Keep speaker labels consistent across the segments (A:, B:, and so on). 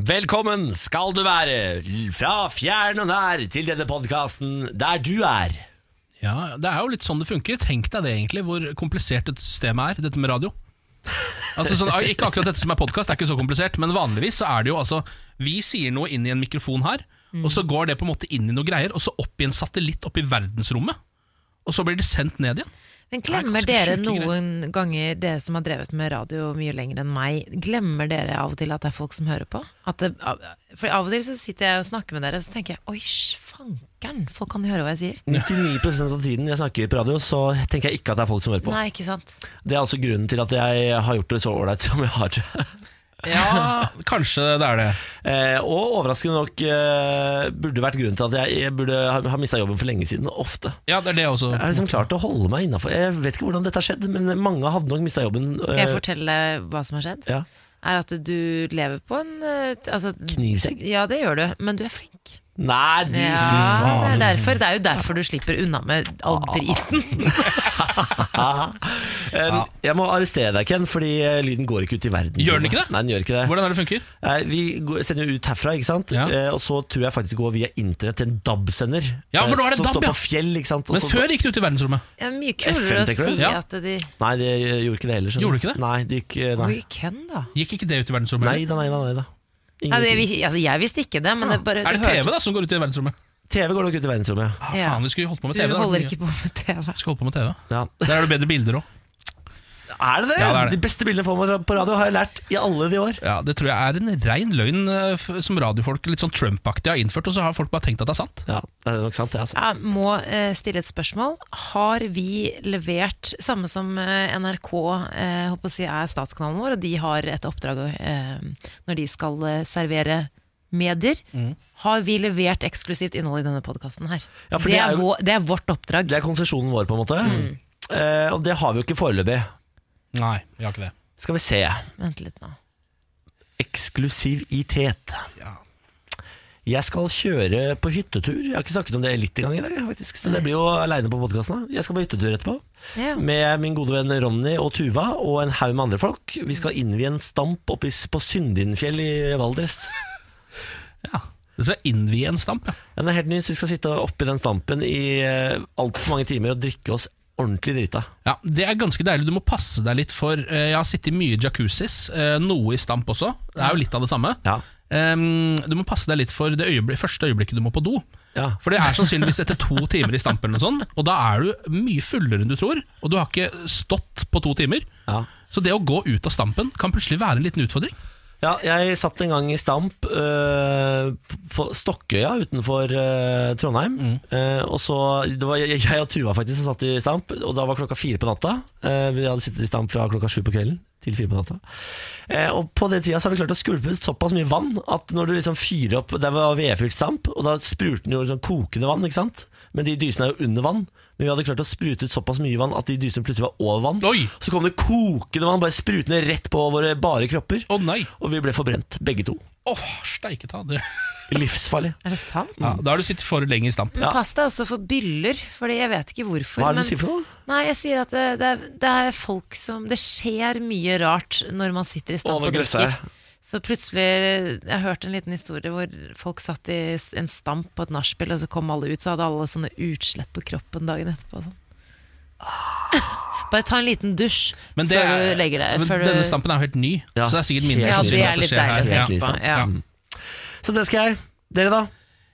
A: Velkommen skal du være fra fjern og nær til denne podkasten der du er.
B: Ja, Det er jo litt sånn det funker. Tenk deg det egentlig, hvor komplisert dette systemet er, dette med radio. Altså sånn, Ikke akkurat dette som er podkast, er ikke så komplisert, men vanligvis så er det jo altså Vi sier noe inn i en mikrofon her,
A: Mm.
B: og så går det på en måte inn i noe greier, og så opp i en satellitt opp i verdensrommet. Og så blir det sendt ned igjen.
C: Men
B: er
C: glemmer
B: ganske
C: dere
B: sjuke
C: noen ganger, dere som har drevet med radio mye lenger enn meg, glemmer dere av og til at det er folk som hører på? At det, av- for av og til så sitter jeg og snakker med dere, og så tenker jeg oi, sj, fankeren, folk kan jo høre hva jeg sier.
A: 99 av tiden jeg snakker på radio, så tenker jeg ikke at det er folk som hører på.
C: Nei, ikke sant?
A: Det er altså grunnen til at jeg har gjort det så ålreit som jeg har.
B: Ja, Kanskje det er det.
A: Eh, og overraskende nok eh, burde vært grunnen til at jeg, jeg burde ha, ha mista jobben for lenge siden, og ofte.
B: Ja, det er det også.
A: Jeg har liksom klart å holde meg innafor. Jeg vet ikke hvordan dette har skjedd, men mange hadde nok mista jobben.
C: Skal jeg
A: eh,
C: fortelle hva som har skjedd?
A: ja,
C: Er at du lever på en eh, t- altså,
A: knivsegg?
C: Ja, det gjør du, men du er flink.
A: Nei, du
C: Ja, det er, derfor, det er jo derfor du slipper unna med all driten.
A: Eh, Jeg må arrestere deg, Ken, fordi eh, lyden går ikke ut i verden.
B: Gjør den ikke det?
A: Nei, den gjør ikke det.
B: Hvordan er det funker?
A: Nei, Eh, vi går- sender jo ut herfra, ikke sant?
B: Ja.
A: Eh, og så tror jeg faktisk det går via internett til en DAB-sender.
B: Ja, for nå er det
A: eh, som
B: DAB,
A: står
B: ja.
A: på fjell, ikke sant? Og
B: Men
A: så-
B: før gikk det ut i verdensrommet.
C: Det er mye kulere
A: FM,
C: å
A: tenker du?
C: si
B: Ja.
C: at de
A: Nei, det eh, gjorde ikke det heller. skjønner
B: Gjorde
A: du.
B: ikke det?
A: Nei, det gikk eh, Nei,
C: Oi, Ken, da.
B: Gikk ikke det ut i verdensrommet?
A: nei da, nei da. Nei, da.
C: Ja, det,
A: Ingenting.
C: vi- altså, jeg visste ikke det, men det bare
B: Er det TV da som går ut i verdensrommet?
A: TV går nok ut i verdensrommet, ja.
B: Ah,
C: Ja.
B: Faen, vi skulle jo holdt på med
C: TV,
B: TV.
C: Du
B: da.
C: holder ikke på med TV.
B: Vi skal holde på med TV.
A: ja.
B: Der er det bedre bilder òg.
A: Er det det?
B: Ja, det er det.
A: De beste bildene får man på radio, har jeg lært i alle de år.
B: Ja, Det tror jeg er en rein løgn eh, f- som radiofolk litt sånn Trump-aktig har innført, og så har folk bare tenkt at det er sant.
A: Ja, det er nok sant, det. Altså.
C: Jeg må eh, stille et spørsmål. Har vi levert samme som eh, NRK eh, håper å si er statskanalen vår, og de har et oppdrag eh, når de skal eh, servere medier?
A: Mm.
C: Har vi levert eksklusivt innhold i denne podkasten her?
A: Ja, for
C: det,
A: det er
C: er
A: jo-
C: vår, det er vårt oppdrag.
A: Det er konsesjonen vår, på en måte.
C: Mm.
A: Eh, og det har vi jo ikke foreløpig.
B: Nei, vi har ikke det.
A: Skal vi se.
C: Vent litt nå.
A: Eksklusivitet.
B: Ja.
A: Jeg skal kjøre på hyttetur. Jeg har ikke snakket om det litt engang i dag. faktisk Så Det blir jo aleine på podkasten. Jeg skal på hyttetur etterpå
C: Ja.
A: med min gode venn Ronny og Tuva og en haug med andre folk. Vi skal innvie en stamp oppe i, på Syndinfjell i Valdres.
B: Ja, Det skal innvie en stamp, ja.
A: Den er helt ny, så vi skal sitte oppi den stampen i altfor mange timer og drikke oss ordentlig drita.
B: ja. Det er ganske deilig. Du må passe deg litt for eh, Jeg har sittet mye i jacuzzis, eh, noe i stamp også. Det er jo litt av det samme.
A: Ja.
B: Em, du må passe deg litt for det øyeblik, første øyeblikket du må på do.
A: Ja.
B: For det er sannsynligvis etter to timer i stampen, og, sånn, og da er du mye fullere enn du tror. Og du har ikke stått på to timer.
A: Ja.
B: Så det å gå ut av stampen kan plutselig være en liten utfordring.
A: Ja, jeg satt en gang i stamp øh, på Stokkøya utenfor øh, Trondheim. Eh, og så, det var jeg, jeg og Tuva faktisk som satt i stamp, og da var klokka fire på natta. Eh, vi hadde sittet i stamp fra klokka sju på kvelden til fire på natta. Eh, og på den tida så har vi klart å skvulpe ut såpass mye vann at når du liksom fyrer opp Der var vedfylt stamp, og da sprulte den jo liksom kokende vann, ikke sant? Men de dysene er jo under vann. Men vi hadde klart å sprute ut såpass mye vann at de dysene plutselig var over vann.
B: Oi!
A: Så kom det kokende vann, bare sprutende rett på våre bare kropper.
B: Å nei!
A: Og vi ble forbrent, begge to.
B: Åh, steike ta det.
A: Livsfarlig.
C: Er det sant?
B: Ja, da har du sittet for lenge i stamp.
C: Men pass deg også for byller, Fordi jeg vet ikke hvorfor.
A: Hva er det
C: men-
A: du sier for noe?
C: Nei, jeg sier at det, det, er, det er folk som Det skjer mye rart når man sitter i
A: Å,
C: stamp
A: nå
C: og
A: grøsser
C: drikker. Så plutselig Jeg har hørt en liten historie hvor folk satt i s- en stamp på et nachspiel, og så kom alle ut, så hadde alle sånne utslett på kroppen dagen etterpå. og Sånn.
A: Ah.
C: Bare ta en liten dusj
B: Men det
C: før
B: er-
C: du legger deg.
B: men
C: Før
B: denne
C: du,
B: stampen er jo helt ny,
A: Ja.
B: så det er sikkert mindre
A: Ja,
C: ja,
B: sannsynlig
C: det
B: at
C: er litt
B: skjer her.
C: deilig å
B: Ja.
C: tenke på. Ja.
B: Ja.
A: Så det skal jeg. Dere, da?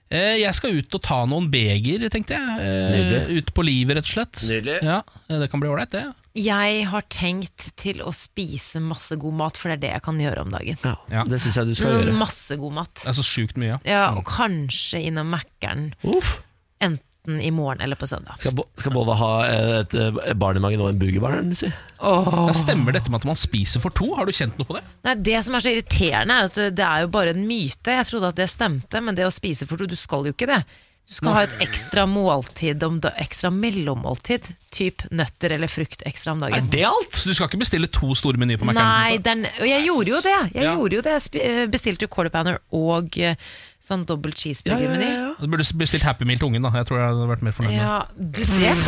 B: Eh, Jeg skal ut og ta noen beger, tenkte jeg. Eh,
A: Nydelig.
B: Ut på livet, rett og slett.
A: Nydelig.
B: Ja, eh, Det kan bli ålreit, det.
C: Jeg har tenkt til å spise masse god mat, for det er det jeg kan gjøre om dagen.
A: Ja,
B: Ja.
A: Det syns jeg du skal
C: Noe
A: gjøre.
C: Masse god mat.
B: Det er så sjukt mye. ja.
C: Ja, og kanskje innom Mækkern.
A: Uff.
C: Enten i morgen eller på søndag.
A: Skal, bo- skal både ha eh, et eh, barn i magen og en burgerbarn? Si.
C: Åh.
B: Ja, stemmer dette med at man spiser for to? Har du kjent noe på det?
C: Nei, det som er så irriterende, er at det er jo bare en myte. Jeg trodde at det stemte, men det å spise for to, du skal jo ikke det. Du skal ha et ekstra måltid, om da, ekstra mellommåltid. Typ nøtter eller frukt ekstra om dagen.
B: det alt? Så du skal ikke bestille to store menyer på
C: Nei,
B: McDonald's?
C: den, og jeg gjorde jo det. Jeg
B: Ja.
C: gjorde jo det. Jeg spi- eh, bestilte jo quarter pounder og eh, sånn dobbel cheeseburger-meny. Ja,
B: Du burde bestilt Happy Meal til ungen, da. Jeg tror jeg hadde vært mer fornøyd med det.
C: det det kan jeg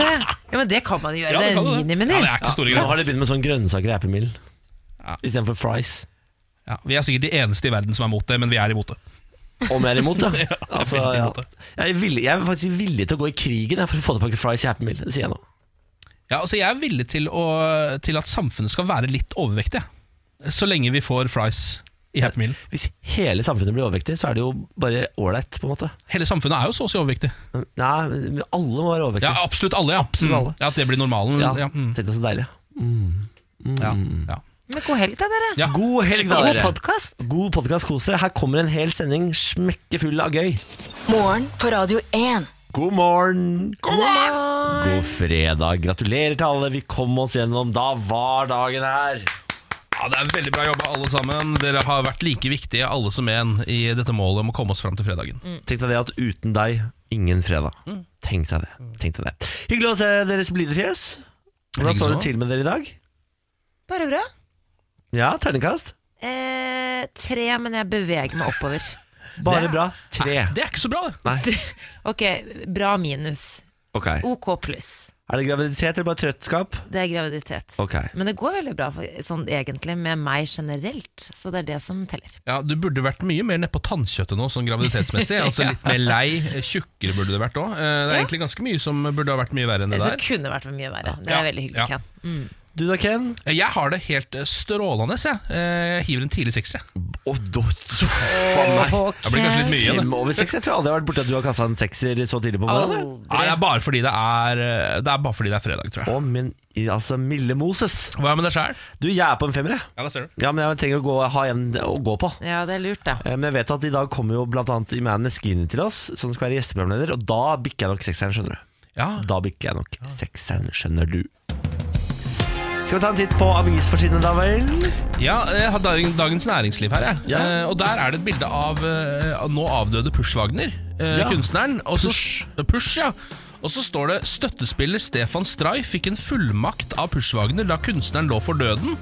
C: gjøre! Ja, men det kan man jo gjøre.
B: Ja,
C: det
B: du
C: er
B: kan jo det.
C: minimeny.
B: Ja, det er ikke store
A: Nå
B: greier.
A: har de begynt med sånn grønnsaker i Happy Meal
B: Ja.
A: istedenfor fries.
B: Ja, vi er sikkert de eneste i verden som er mot det, men vi er imot det.
A: Om jeg er imot det? altså,
B: veldig
A: ja.
B: imot det.
A: jeg, er villig, jeg er faktisk villig til å gå i krigen jeg, for å få tilbake fries i Happy Meal. Det sier jeg nå.
B: Ja, altså Jeg er villig til, å, til at samfunnet skal være litt overvektig, jeg. så lenge vi får fries i Happy Meal.
A: Hvis hele samfunnet blir overvektig, så er det jo bare ålreit, på en måte.
B: Hele samfunnet er jo så å si overvektig.
A: Nei, men alle må være
B: Ja,
A: overvektige.
B: absolutt alle. ja
A: Absolutt alle.
B: Mm. Ja, At det blir normalen.
A: Ja,
B: Ja, mm.
A: Tenk deg så deilig.
B: ja, ja.
C: Men god helg, da, dere.
B: Ja.
A: God helg, da,
C: God
A: dere.
C: podkast.
A: God podkast, kos dere. Her kommer en hel sending smekkfull av gøy.
D: Morgen på Radio 1.
A: God morgen! God morgen! God fredag. Gratulerer til alle. Vi kom oss gjennom. Da var dagen her.
B: Ja, Det er veldig bra jobba, alle sammen. Dere har vært like viktige, alle som en, i dette målet om å komme oss fram til fredagen.
A: Tenk deg det at uten deg, ingen fredag. Tenk deg det. Tenk deg det. Hyggelig å se deres blide fjes. Hvordan
B: Likeså.
A: står det til med dere i dag?
C: Bare bra.
A: Ja, terningkast.
C: Eh, tre, men jeg beveger meg oppover.
A: Bare
B: Det er-
A: bra. Tre.
B: Nei, det er ikke så bra, det.
C: Ok, bra minus.
A: Ok.
C: OK pluss.
A: Er det graviditet eller bare trøttskap?
C: Det er graviditet.
A: Ok.
C: Men det går veldig bra for, sånn, egentlig med meg generelt, så det er det som teller.
B: Ja, Du burde vært mye mer nedpå tannkjøttet nå, sånn graviditetsmessig. altså Litt mer lei, tjukkere burde det vært òg. Det er
C: Ja.
B: egentlig ganske mye som burde ha vært mye verre enn det
C: Eller
B: der.
C: så kunne det vært mye verre. Det
B: Ja.
C: er veldig hyggelig,
B: Ja.
C: Ken.
A: Du da, Ken?
B: Jeg har det helt eh, strålende. Jeg, Eh, jeg hiver en tidlig sekser. jeg.
A: Å, da Faen meg.
B: Det blir kanskje litt mye igjen.
A: Fem over seks. Jeg tror aldri jeg har vært borti at du har kasta en sekser så tidlig på morgenen.
C: Aldri.
B: Nei, det, er bare fordi det, er, eh, det er bare fordi det er fredag, tror
A: Å,
B: jeg.
A: men i- altså, milde Moses.
B: Hva med deg sjæl?
A: Du, jeg er på en femmer, jeg.
B: Ja, det ser du.
A: Ja, men jeg trenger å gå, ha en å gå på.
C: Ja, det er lurt, da.
A: Eh, Men jeg vet at i dag kommer jo blant annet Iman Meskini til oss, som skal være gjesteprogramleder, og da bikker jeg nok sekseren, skjønner du.
B: Ja.
A: Da bikker jeg nok sekseren, skjønner du. Skal vi ta en titt på avisforsidene, da vel?
B: ja, jeg har dag- Dagens Næringsliv her, jeg.
A: Ja.
B: Eh, og der er det et bilde av eh, av nå avdøde Push-Wagner, eh,
A: Ja.
B: kunstneren. Og så, eh, Push, ja. Og så står det støttespiller Stefan Stray fikk en fullmakt av Push-Wagner da kunstneren lå for døden,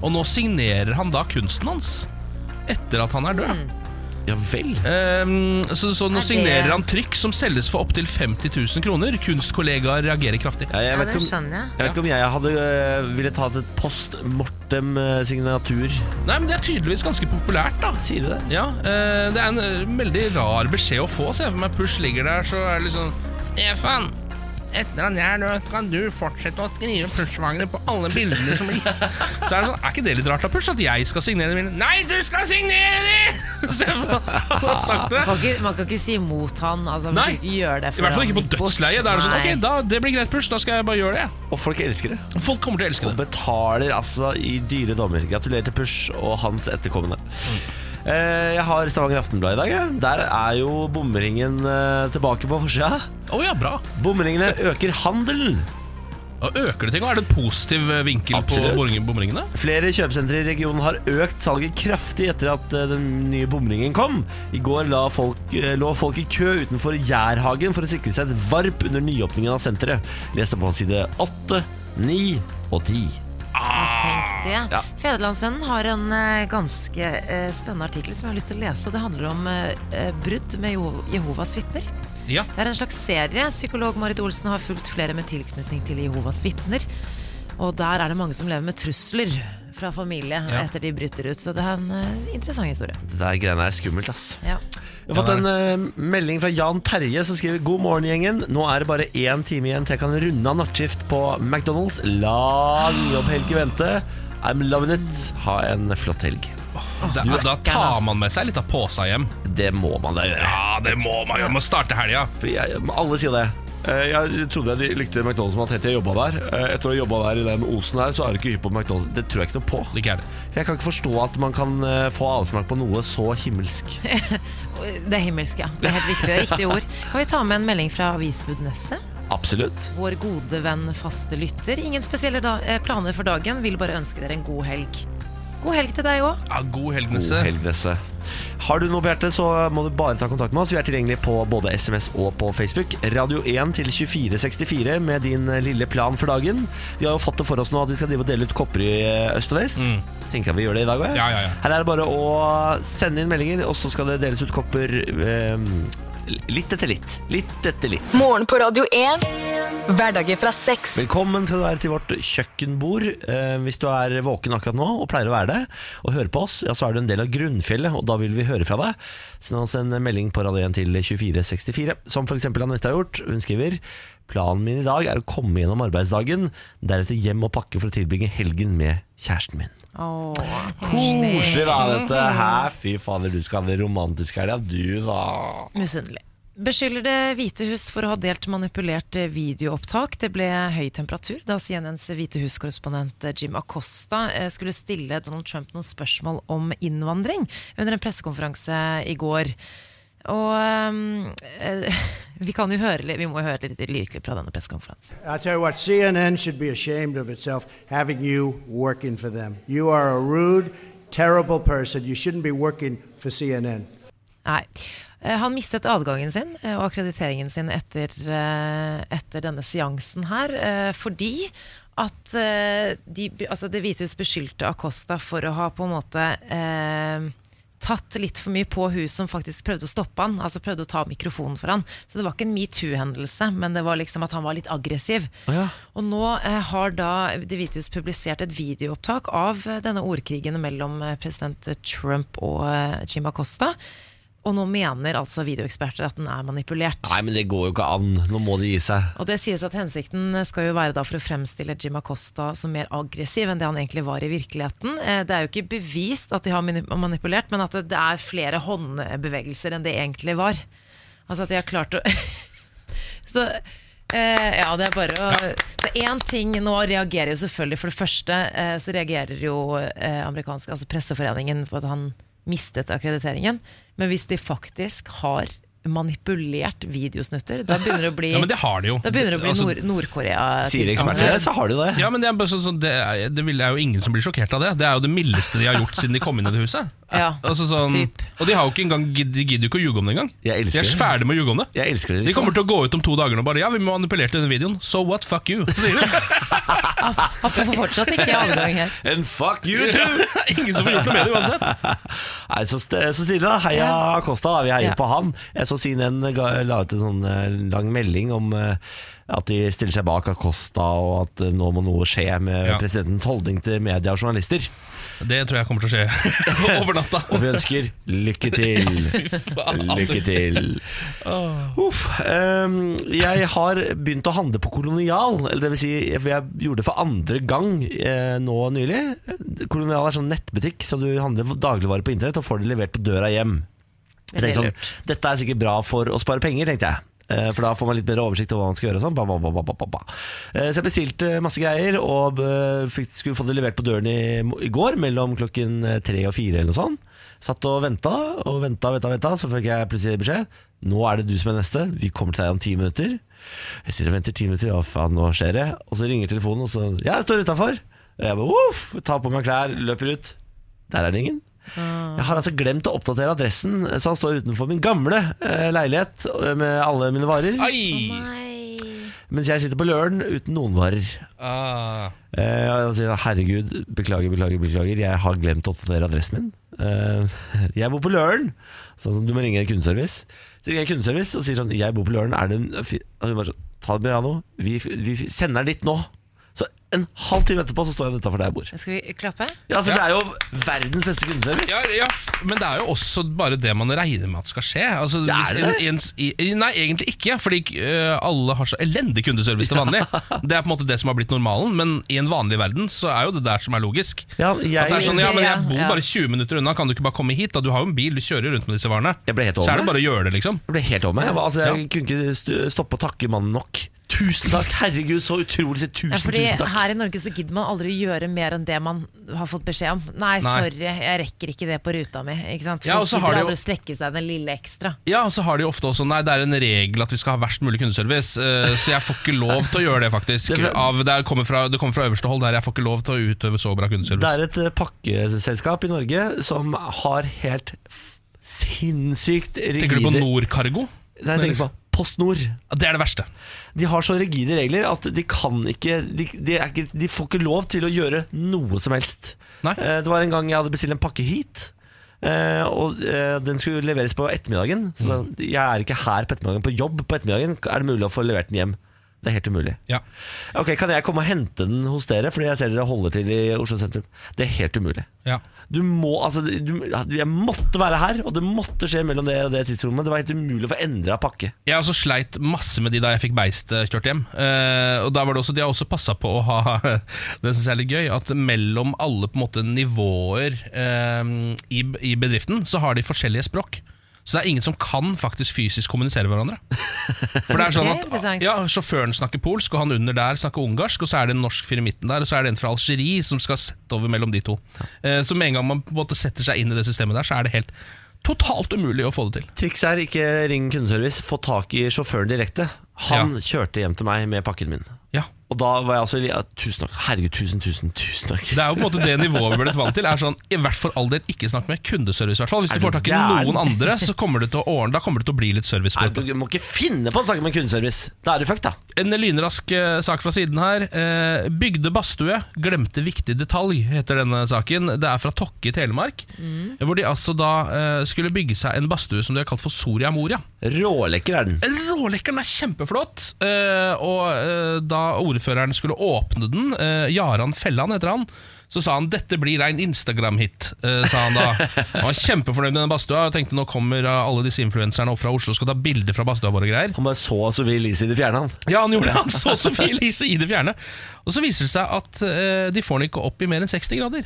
B: og nå signerer han da kunsten hans etter at han er
A: Hmm.
B: død.
A: Ja vel.
B: Ehm, så, så
C: Er
B: nå
C: det-
B: signerer han trykk som selges for opptil 50 000 kroner. Kunstkollegaer reagerer kraftig.
A: Ja, jeg,
C: Ja,
A: vet
C: det
A: ikke om,
C: skjønner jeg.
A: jeg vet ikke om jeg hadde øh, ville tatt et post mortem-signatur.
B: Nei, men Det er tydeligvis ganske populært, da.
A: Sier du det?
B: Ja, eh, Det er en eh, veldig rar beskjed å få. Ser jeg for meg Push ligger der, så er det liksom Stefan, etter at jeg er død, kan du fortsette å skrive Push-Wagner på alle bildene som blir Så Er det sånn, er ikke det litt rart av Push at jeg skal signere bildene? Nei, du skal signere de! Se for meg, han har sagt det.
C: Man kan, ikke, man kan ikke si imot han. Altså, man
B: Nei.
C: kan ikke gjøre det
B: I hvert fall ikke på dødsleiet. Da er det sånn, ok, da, det blir greit, Push, da skal jeg bare gjøre det. jeg.»
A: Og folk elsker det.
B: Folk kommer til å elske det.
A: Og betaler altså i dyre dommer. Gratulerer til Push og hans etterkommende. Eh, Jeg har Stavanger Aftenblad i dag. jeg. Der er jo bomringen eh, tilbake på forsida.
B: Å ja, bra.
A: Bomringene øker handelen.
B: Da øker det ting. og Er det en positiv eh, vinkel
A: Absolutt.
B: på boring- bomringene?
A: Flere kjøpesentre i regionen har økt salget kraftig etter at eh, den nye bomringen kom. I går la folk, eh, lå folk i kø utenfor Jærhagen for å sikre seg et varp under nyåpningen av senteret. Les det på side 8, 9 og 10.
C: Tenk det.
A: Ja.
C: Fedrelandsvennen har en eh, ganske eh, spennende artikkel som jeg har lyst til å lese. og Det handler om eh, eh, brudd med Jeho- Jehovas vitner.
B: Ja.
C: Det er en slags serie. Psykolog Marit Olsen har fulgt flere med tilknytning til Jehovas vitner. Og der er det mange som lever med trusler fra familie
B: Ja.
C: etter de bryter ut. Så det er en eh, interessant historie.
A: Det der greiene er skummelt, ass.
C: Ja.
A: Jeg har fått en eh, melding fra Jan Terje som skriver God morgen gjengen, nå er det bare én time igjen til jeg kan runde av nattskift på McDonalds Lang jobb helg i vente I'm loving it, ha en flott helg
B: Da, da tar man med seg litt av posa hjem.
A: Det må man da gjøre
B: Ja, det må man gjøre. Man må starte helga.
A: For jeg, alle sier det Eh, Jeg trodde jeg likte McDonalds som hadde tett jeg jobbet der Eh, Etter å ha jobbet der i den osen her Så er det ikke hypp på McDonalds Det tror jeg ikke noe på
B: Det ikke er det.
A: For jeg kan ikke forstå at man kan eh, få avsmak på noe så himmelsk
C: Det er himmelsk, ja. Det er helt riktig, det er riktig ord. Kan vi ta med en melding fra Avisbud Nesset?
A: Absolutt
C: Vår gode venn faste lytter. Ingen spesielle da eh, planer for dagen, vil bare ønske dere en god helg. God helg til deg òg.
B: Ja, god helg,
A: God
B: Nisse.
A: helg, Nesse. Har du noe på hjertet, så må du bare ta kontakt med oss. Vi er tilgjengelige på både SMS og på Facebook. Radio 1 til 2464 med din eh, lille plan for dagen. Vi har jo fått det for oss nå at vi skal drive og dele ut kopper i eh, øst og vest. Tenker jeg vi gjør det i dag òg.
B: Mm. Ja, ja, ja.
A: Her er det bare å sende inn meldinger, og så skal det deles ut kopper eh, litt etter litt. Litt etter litt.
D: Morgen på Radio 1. Hverdager fra seks.
A: Velkommen skal du være til vårt kjøkkenbord. Eh, hvis du er våken akkurat nå og pleier å være det, og hører på oss, ja, så er du en del av grunnfjellet, og da vil vi høre fra deg. Send oss en melding på Radio 1 til 2464, som f.eks. Anette har gjort. Hun skriver Planen min i dag er å komme gjennom arbeidsdagen, deretter hjem og pakke for å tilbringe helgen med kjæresten min.
C: Åh,
A: Koselig da, dette her. Fy fader, du skal ha det romantisk her, ja. Du, da.
C: Misunnelig. Beskylder Det hvite hus for å ha delt manipulert eh, videoopptak. Det ble høy temperatur da CNNs hvite hus-korrespondent eh, Jim Acosta eh, skulle stille Donald Trump noen spørsmål om innvandring under en pressekonferanse i går. Og eh, vi kan jo høre litt, vi må jo høre litt lyrikelig fra denne pressekonferansen.
E: I'll tell you what, CNN should be ashamed of itself having you working for them. You are a rude, terrible person. You shouldn't be working for CNN.
C: Nei. Eh, Han mistet adgangen sin eh, og akkrediteringen sin etter, eh, etter denne seansen her, eh, fordi at eh, de, altså Det hvite hus beskyldte Acosta for å ha på en måte eh, tatt litt for mye på hun som faktisk prøvde å stoppe han, altså prøvde å ta mikrofonen for han. Så det var ikke en metoo-hendelse, men det var liksom at han var litt aggressiv.
A: Å ja.
C: Og nå eh, har da Det hvite hus publisert et videoopptak av eh, denne ordkrigen mellom eh, president Trump og eh, Jim Acosta. Og nå mener altså videoeksperter at den er manipulert.
A: Nei, men det går jo ikke an. Nå må de gi seg.
C: Og det sies at hensikten skal jo være da for å fremstille Jim Acosta som mer aggressiv enn det han egentlig var i virkeligheten. Eh, Det er jo ikke bevist at de har mani- manipulert, men at det- det er flere håndbevegelser enn det egentlig var. Altså at de har klart å Så eh, ja, det er bare å Så én ting nå reagerer jo selvfølgelig For det første eh, så reagerer jo eh, amerikansk, altså presseforeningen på at han mistet akkrediteringen. Men hvis de faktisk har manipulert videosnutter, da begynner det å bli
B: Ja, men det har de jo.
C: da begynner det å bli
B: Altså,
C: Nord- Nord-Korea.
A: Sier eksperter det, så har de jo det.
B: Ja, men det er, bare sånn- sånn- det, er, det vil- er jo ingen som blir sjokkert av det. Det er jo det mildeste de har gjort siden de kom inn i det huset.
C: Ja,
B: altså sånn,
C: typ.
B: og de har jo ikke engang gidd- De gidder jo ikke å ljuge om det engang.
A: Jeg elsker
B: de er
A: det.
B: ferdig med å ljuge om det.
A: Jeg elsker dere.
B: De kommer til å gå ut om to dager og bare 'ja, vi manipulerte denne videoen', so what, fuck you. Sier de.
C: Han får fortsatt ikke adgang her.
A: And fuck you too!
B: ingen som får gjort noe med det uansett.
A: Nei, så, st så stille da Heia
C: Ja.
A: Acosta, da. vi heier
C: Ja.
A: på han Jeg så CNN ga, la ut en sånn eh, lang melding om eh, at de stiller seg bak Acosta Og at eh, nå må noe skje med
B: Ja.
A: presidentens holdning til media og journalister
B: Det tror jeg kommer til å skje over natta.
A: Og vi ønsker lykke til Lykke til Uff, ehm, Jeg har begynt å handle på kolonial Eller det vil si, jeg gjorde det for andre gang eh, nå nylig Kolonial er sånn nettbutikk Så du handler dagligvarer på internett og får det levert på døra hjem jeg tenkte
C: Veldig
A: sånn, Dette er sikkert bra for å spare penger, tenkte jeg. Eh, For da får man litt bedre oversikt over hva man skal gjøre. og Sånn. Ba, ba, ba, ba, ba, ba, ba. Eh, Så jeg bestilte masse greier og eh, fikk, skulle få det levert på døren i, i går mellom klokken eh, tre og fire. Eller noe sånt. Satt og venta og venta, venta, venta, så fikk jeg plutselig beskjed. Nå er det du som er neste. Vi kommer til deg om ti minutter. Jeg sitter og venter ti minutter, og faen, nå skjer det. Og så ringer telefonen, og så Ja, jeg står utafor. Og jeg bare uff, tar på meg klær, løper ut. Der er det ingen. Jeg har altså glemt å oppdatere adressen, så han står utenfor min gamle eh, leilighet eh, med alle mine varer,
B: Ai!
A: mens jeg sitter på Løren uten noen varer.
B: Ah.
A: Eh, og han sier herregud, beklager, beklager, beklager, jeg har glemt å oppdatere adressen min. Eh, jeg bor på Løren, sånn som du må ringe en kundeservice. Så ringer jeg kundeservice og sier sånn, jeg bor på Løren, er det en fi- Og hun bare sånn, ta det med Jano, vi, vi sender den dit nå. Så en halv time etterpå så står jeg utenfor der jeg bor.
C: Skal vi klappe?
A: Ja, altså,
B: Ja.
A: Det er jo verdens beste kundeservice.
B: Ja, ja, f- men det er jo også bare det man regner med at skal skje. Altså,
A: Det er
B: hvis
A: det.
B: en- ens- i- i- nei, egentlig ikke, fordi eh, alle har så elendig kundeservice til vanlig. Det er på en måte det som har blitt normalen, men i en vanlig verden så er jo det der som er logisk.
A: Ja, jeg-
B: at det er sånn, ja, men jeg
C: Ja,
B: bor
C: ja.
B: bare 20 minutter unna, kan du ikke bare komme hit? da? Du har jo en bil, du kjører rundt med disse varene.
A: Jeg ble helt
B: så
A: overveldet.
B: er det bare å gjøre det, liksom.
A: Jeg ble helt over meg. Jeg, var- altså, jeg
B: Ja.
A: kunne ikke st- stoppe å takke mannen nok. Tusen takk! Herregud, så utrolig sett. Tusen,
C: Ja, fordi
A: tusen takk.
C: her i Norge så gidder man aldri å gjøre mer enn det man har fått beskjed om. Nei,
B: Nei.
C: sorry, jeg rekker ikke det på ruta mi. Ikke sant?
B: Ja,
C: Folk
B: og så har
C: gidder
B: de jo-
C: aldri å strekke seg den lille ekstra.
B: Ja, og så har de jo ofte også Nei, det er en regel at vi skal ha verst mulig kundeservice, eh, så jeg får ikke lov til å gjøre det, faktisk.
A: Det er fra-
B: Av, det, kommer fra, det kommer fra øverste hold, der jeg får ikke lov til å utøve så bra
A: Det
B: kundeservice.
A: er et eh, pakkeselskap i Norge som har helt f- sinnssykt rigide
B: Tenker du på Nordkargo?
A: Nei, jeg tenker på PostNord.
B: Ja, Det er det verste.
A: De har så rigide regler at de kan ikke De, de, er ikke, de får ikke lov til å gjøre noe som helst.
B: Nei.
A: Eh, Det var en gang jeg hadde bestilt en pakke hit. eh, og eh, Den skulle
B: Mm.
A: leveres på ettermiddagen. Så jeg er ikke her på ettermiddagen på jobb. på ettermiddagen Er det mulig å få levert den hjem? Det er helt umulig.
B: Ja.
A: Ok, Kan jeg komme og hente den hos dere, fordi jeg ser dere holder til i Oslo sentrum? Det er helt umulig.
B: Ja.
A: Du må, altså, du, jeg måtte være her, og det måtte skje mellom det og det tidsrommet. Det var helt umulig å få endra pakke.
B: Jeg også sleit masse med de da jeg fikk beist eh, kjørt hjem. Eh, og da var det også, De har også passa på å ha Det synes jeg er litt gøy. At mellom alle på en måte nivåer eh, i, i bedriften, så har de forskjellige språk. Så det er ingen som kan faktisk fysisk kommunisere hverandre. For det er sånn
C: Det er
B: at
C: interessant.
B: ja, Sjåføren snakker polsk, og han under der snakker ungarsk. Og så er det en norsk fyr i midten der, og så er det en fra Algerie som skal sette over mellom de to. Eh, så med en gang man på en måte setter seg inn i det systemet der, så er det helt totalt umulig å få det til.
A: Trikset er ikke ring kundeservice, få tak i sjåføren direkte. Han
B: Ja.
A: kjørte hjem til meg med pakken min.
B: Ja
A: Og da var jeg også ja, Tusen takk. Herregud, tusen, tusen, tusen takk.
B: Det er jo på en måte det nivået vi ble vant til. Er sånn, I hvert fall all del, ikke snakk med kundeservice. i hvert fall Hvis
A: Er
B: du
A: du
B: får tak i
A: gæren?
B: noen andre, så kommer det til å ordne Da kommer det til å bli litt service.
A: Nei, du
B: på det.
A: må ikke finne på å snakke med kundeservice. Da er du fucked, da.
B: En lynrask eh, sak fra siden her. Eh, Bygde badstue, glemte viktig detalj, heter denne saken. Det er fra Tokke i Telemark.
A: Mm.
B: Hvor de altså da eh, skulle bygge seg en badstue som de har kalt for Soria Moria.
A: Rålekker er den.
B: Rålekkeren er kjempeflott. eh, og eh, da ordføreren skulle åpne den, eh, Jaran Felland heter han, så sa han 'dette blir rein Instagram-hit'. eh, sa han da. Han var kjempefornøyd med den badstua og tenkte nå kommer eh, alle disse influenserne opp fra Oslo og skal ta bilder fra badstua vår og greier.
A: Han bare så Sophie Elise i det fjerne, han.
B: Ja, han gjorde det. Han så Sophie Elise i det fjerne. Og så viser det seg at eh, de får den ikke opp i mer enn 60 grader.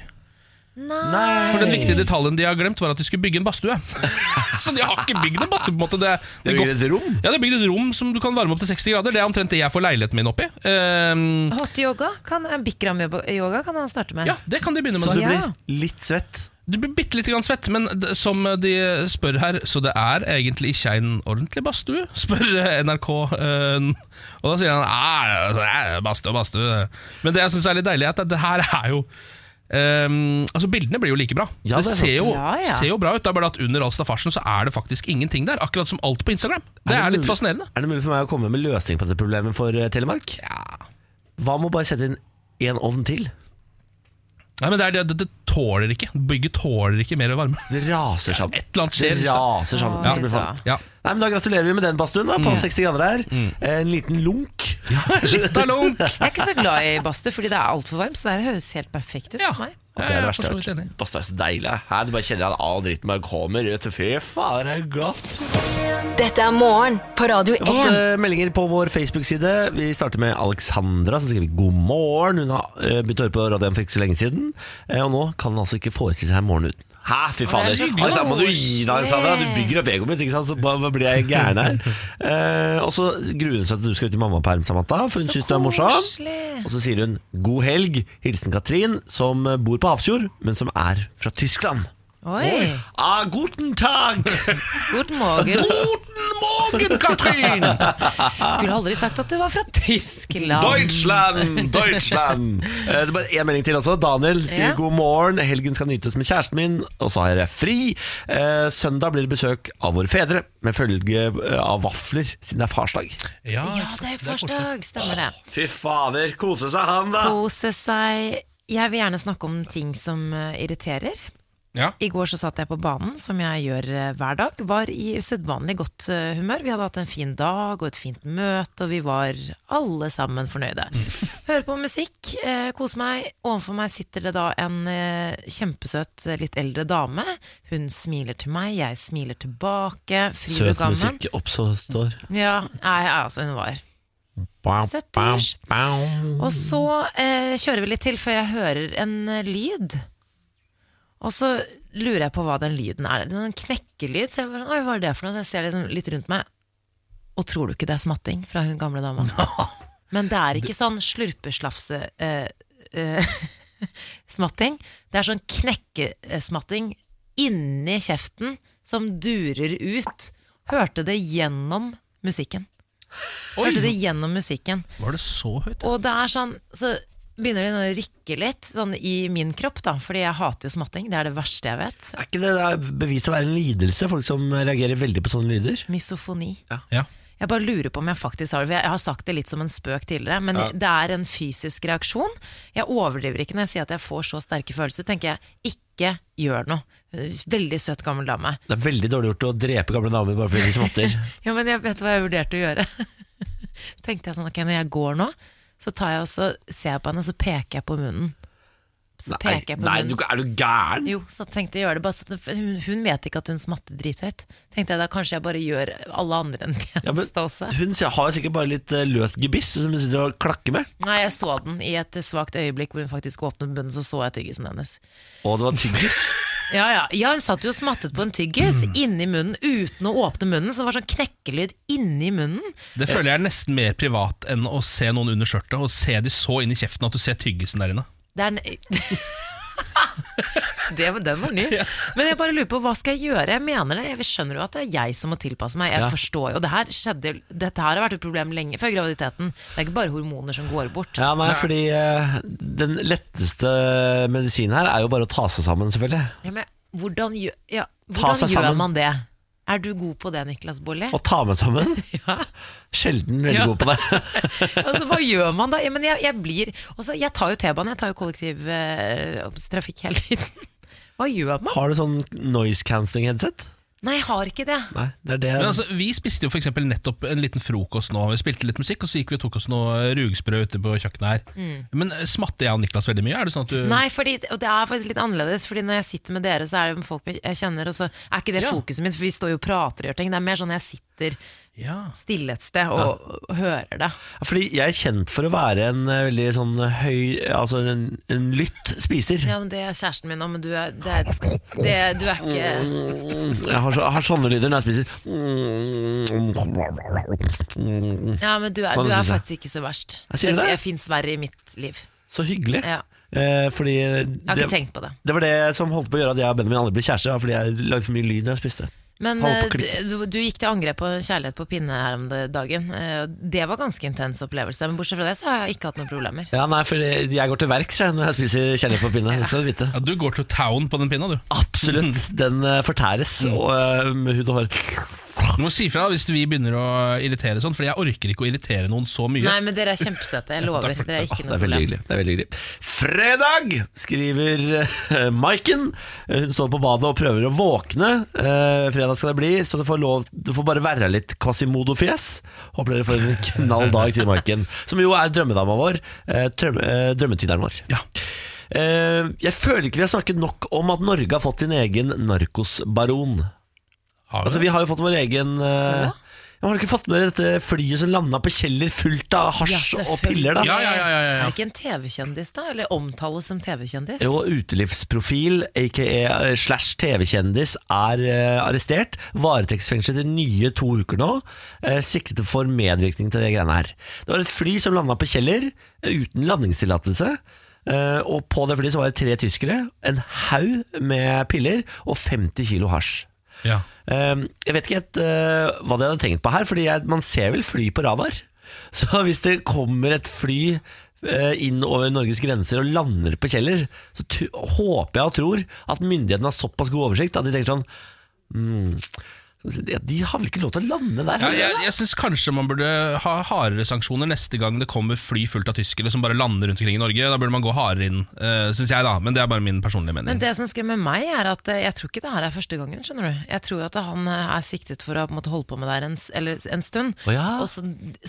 A: Nei.
B: For den viktige detaljen de har glemt, var at de skulle bygge en badstue. så de har ikke bygd en badstue, på en måte. Det,
A: Det
B: går-
A: blir et rom.
B: ja, det er bygd et rom som du kan varme opp til 60 grader. Det er omtrent det jeg får leiligheten min opp i. Ehm,
C: Hot yoga? Kan, eh, Bikram-yoga kan han starte med.
B: ja, det kan de begynne
A: Så
B: med.
A: du
B: Da.
A: blir
C: Ja.
A: litt svett.
B: Du blir bitte lite grann svett, men d- som de spør her, så det er egentlig ikke en ordentlig badstue, spør eh, NRK. eh, Og da sier han "Nei, altså, det er badstue, badstue. Men det jeg syns er litt deilig, er at det her er jo ehm, altså Bildene blir jo like bra.
A: Ja,
B: det
A: det er sant.
B: ser jo,
C: Ja, ja.
B: ser jo bra ut. Det er bare at under all staffasjen så er det faktisk ingenting der. Akkurat som alt på Instagram. Det er litt
A: mulig-
B: fascinerende.
A: Er det mulig for meg å komme med løsning på dette problemet for eh, Telemark? Hva med å bare sette inn én ovn til?
B: Nei, men det, er, det, det, det tåler ikke. Bygget tåler ikke mer varme.
A: Det raser sammen.
B: Et eller annet skjer.
A: Det raser sammen.
C: Ja.
A: Så det blir faen.
B: Ja.
A: Nei, men Da gratulerer vi med den badstuen, da, på
B: Mm.
A: 60 grader her. En liten lunk.
B: Litt av lunk!
C: Jeg er ikke så glad i badstue fordi det er altfor varmt, så det her høres helt perfekt ut
B: Ja.
C: for meg.
A: Det er
B: jeg
A: det
B: er
A: verste
B: for så
A: jeg
B: vidt
A: har
B: enig.
A: hørt. Badstue er så deilig. Her, du bare kjenner at all dritten bare kommer ut. Fy faen, det er godt.
D: Dette er morgen på Radio
A: Vi har fått
D: 1.
A: eh, meldinger på vår Facebook-side. Vi starter med Alexandra, som skriver god morgen. Hun har eh, begynt å høre på radioen for ikke så lenge siden, eh, og nå kan hun altså ikke forestille seg morgenen uten. Hæ, fy fader.
C: så hyggelig.
A: Alexandra, må du gi deg, Alexandra. Du bygger opp egoet mitt, ikke sant? så bare, bare blir jeg gæren her. Eh, og så gruer hun seg til du skal ut i mammaperm, Samantha, for hun
C: Så
A: syns du er morsom.
C: koselig.
A: Og så sier hun 'god helg'. Hilsen Katrin, som eh, bor på Hafrsfjord, men som er fra Tyskland.
C: Oi.
A: Ah, guten tag!
C: God morgen.
B: Guten morgen, Katrin!
C: Skulle aldri sagt at du var fra Tyskland.
A: Deutschland! Deutschland! Eh, Det er bare én melding til også. Daniel skriver
C: Ja.
A: 'God morgen, helgen skal nytes med kjæresten min', og så har jeg fri. Eh, Søndag blir det besøk av våre fedre, med følge eh, av vafler, siden det er farsdag.
B: Ja,
C: Ja, det er farsdag. Stemmer det.
A: Fy fader, kose seg han, da!
C: Kose seg. Jeg vil gjerne snakke om ting som eh, irriterer.
B: Ja.
C: I går så satt jeg på banen, som jeg gjør eh, hver dag. Var i usedvanlig godt eh, humør. Vi hadde hatt en fin dag og et fint møte, og vi var alle sammen fornøyde. Hører på musikk, eh, koser meg. Ovenfor meg sitter det da en eh, kjempesøt, eh, litt eldre dame. Hun smiler til meg, jeg smiler tilbake. Fryd og
A: Søt
C: gammen.
A: musikk oppstår.
C: Ja, nei, altså, hun var Søtters. Og så eh, kjører vi litt til før jeg hører en eh, lyd. Og så lurer jeg på hva den lyden er. Det er en knekkelyd. Så jeg bare, sånn, Oi, hva er det for noe? Så jeg ser liksom litt rundt meg. Og tror du ikke det er smatting fra hun gamle dama? Men det er ikke sånn slurpeslafse-smatting. det er sånn knekkesmatting inni kjeften som durer ut. Hørte det gjennom musikken.
B: Oi,
C: Hørte det gjennom musikken.
B: var det så høyt?
C: Og det er sånn, så begynner det nå å rykke litt sånn i min kropp, da, fordi jeg hater jo smatting. Det er det verste jeg vet.
A: Er ikke det der bevist å være en lidelse, folk som reagerer veldig på sånne lyder?
C: Misofoni.
B: Ja.
C: Jeg bare lurer på om jeg faktisk har det. for Jeg jeg har sagt det litt som en spøk tidligere, men det er en fysisk reaksjon. Jeg overdriver ikke når jeg sier at jeg får så sterke følelser. tenker jeg, ikke gjør noe. Veldig søt gammel dame.
A: Det er veldig dårlig gjort å drepe gamle damer bare fordi de smatter.
C: Ja, men jeg vet hva jeg vurderte å gjøre. tenkte jeg sånn, ok, når jeg går nå, så tar jeg og så ser jeg på henne, og så peker jeg på munnen. Så
A: Nei,
C: peker jeg på
A: nei
C: munnen.
A: du, er du gæren?
C: Jo, så tenkte jeg gjør det bare sånn, for hun, hun vet ikke at hun smatter drithøyt. Tenkte jeg da kanskje jeg bare gjør alle andre en tjeneste
A: Ja, men
C: også.
A: hun sier- har sikkert bare litt eh, løst gebiss som hun sitter og klakker med.
C: Nei, jeg så den i et svakt øyeblikk hvor hun faktisk åpnet munnen, så så jeg tyggisen hennes.
A: Å, det var tyggis.
C: Ja, ja, ja hun satt jo og smattet på en tyggis
A: Mm.
C: inni munnen uten å åpne munnen, så det var sånn knekkelyd inni munnen.
B: Det føler jeg er nesten mer privat enn å se noen under skjørtet og se de så inn i kjeften at du ser tyggisen der inne.
C: Det er en... Det, var- den var ny. Men jeg bare lurer på, hva skal jeg gjøre? Jeg mener det, jeg skjønner jo at det er jeg som må tilpasse meg. Jeg
A: Ja.
C: forstår jo, det her skjedde, Dette her har vært et problem lenge før graviditeten. Det er ikke bare hormoner som går bort.
A: Ja, nei, fordi eh, den letteste medisinen her er jo bare å ta seg sammen, selvfølgelig.
C: Ja, men hvordan gjør, ja,
A: Ta
C: hvordan
A: seg
C: gjør
A: sammen.
C: man det? Er du god på det, Niklas Bolli?
A: Å ta med sammen. Sjelden veldig
C: Ja.
A: god på det.
C: altså, hva gjør man da? Ja, men jeg, jeg blir også, Jeg tar jo T-banen, jeg tar jo kollektivtrafikk hele tiden. Hva gjør man?
A: Har du sånn noise cancelling headset?
C: Nei, jeg har ikke det.
A: Nei, det er det.
B: Men altså, Vi spiste jo for eksempel nettopp en liten frokost nå. Vi spilte litt musikk, og så gikk vi og tok oss noe rugsprø ute på kjøkkenet her. Men eh, smatte jeg og Niklas veldig mye? Er det sånn at
A: Mm.
B: du
C: Nei, fordi, og det er faktisk litt annerledes, Fordi når jeg sitter med dere, så er det folk jeg kjenner, og så er ikke det
B: Ja.
C: fokuset mitt, for vi står jo og prater og gjør ting. Det er mer sånn jeg sitter
B: Ja.
C: stille et sted og, og hører det.
A: Fordi jeg er kjent for å være en eh, veldig sånn høy Altså en, en lytt spiser.
C: Ja, men Det er kjæresten min òg, men du er, det er, det, du er ikke
A: Jeg har, så, jeg har sånne lyder når jeg spiser.
C: Ja, men du er,
A: Sånn
C: du
A: synes
C: er
A: jeg.
C: faktisk ikke så verst.
A: Jeg sier det.
C: Jeg fins verre i mitt liv.
A: Så hyggelig.
C: Ja.
A: Eh, fordi
C: Jeg har
A: det,
C: ikke tenkt på det.
A: det var det som holdt på å gjøre at jeg og Benjamin aldri ble kjærester. var Fordi jeg lagde for mye lyd når jeg spiste.
C: Men
A: Holder på
C: eh,
A: å klikke.
C: du, du gikk til angrep på kjærlighet på pinne her om det- dagen. eh, og Det var ganske intens opplevelse, men bortsett fra det så har jeg ikke hatt noen problemer.
A: Ja, nei, for jeg jeg går til verks jeg, når jeg spiser kjærlighet på pinne. Så du vite.
B: ja, Du går to town på den pinna, du.
A: Absolutt. Den eh, fortæres og, eh, med hud og hår.
B: Du må si fra hvis vi begynner å irritere sånn, for jeg orker ikke å irritere noen så mye.
C: Nei, men dere er kjempesøte. Jeg lover. Dere er ikke
A: Det
C: noe
A: er veldig
C: problem.
A: hyggelig. Det er veldig hyggelig. Fredag, skriver eh, Maiken. Eh, Hun står på badet og prøver å våkne. Eh, fredag skal det bli, så du får, lov, du får bare være litt Quasimodo-fjes. Håper dere får en knall dag, sier Maiken. Som jo er drømmedama vår. eh, drøm- eh, drømmetyderen vår. Eh, jeg føler ikke vi har snakket nok om at Norge har fått sin egen narkosbaron.
B: Har vi
A: Altså,
B: det?
A: vi har jo fått vår egen eh, Har du ikke fått med dere dette flyet som landa på Kjeller fullt av hasj
C: Ja,
A: og piller? da?
B: Ja, ja, ja, ja,
C: Er
B: ja.
C: det ikke en TV-kjendis, da? Eller omtales som TV-kjendis?
A: Jo, utelivsprofil, a.k.a. eh, slash TV-kjendis, er eh, arrestert. Varetektsfengslet i nye to uker nå. eh, siktet for medvirkning til de greiene her. Det var et fly som landa på Kjeller eh, uten landingstillatelse. eh, og på det flyet så var det tre tyskere, en haug med piller og 50 kilo hasj.
B: Ja.
A: Eh, Jeg vet ikke helt eh, hva de hadde tenkt på her, Fordi jeg, man ser vel fly på radar. Så hvis det kommer et fly eh, inn over Norges grenser og lander på Kjeller, så tu- håper jeg og tror at myndighetene har såpass god oversikt at de tenker sånn hmm, mm, De har vel ikke lov til å lande der?
B: Ja,
A: har de
B: jeg
A: det?
B: jeg syns kanskje man burde ha hardere sanksjoner neste gang det kommer fly fullt av tyskere som bare lander rundt omkring i Norge. Da burde man gå hardere inn, uh, syns jeg, da. Men det er bare min personlige
C: Men
B: mening.
C: det som skremmer meg, er at eh, jeg tror ikke det her er første gangen. skjønner du Jeg tror at han eh, er siktet for å på en måte, holde på med det her en, s- eller, en stund.
A: Å ja.
C: Og så,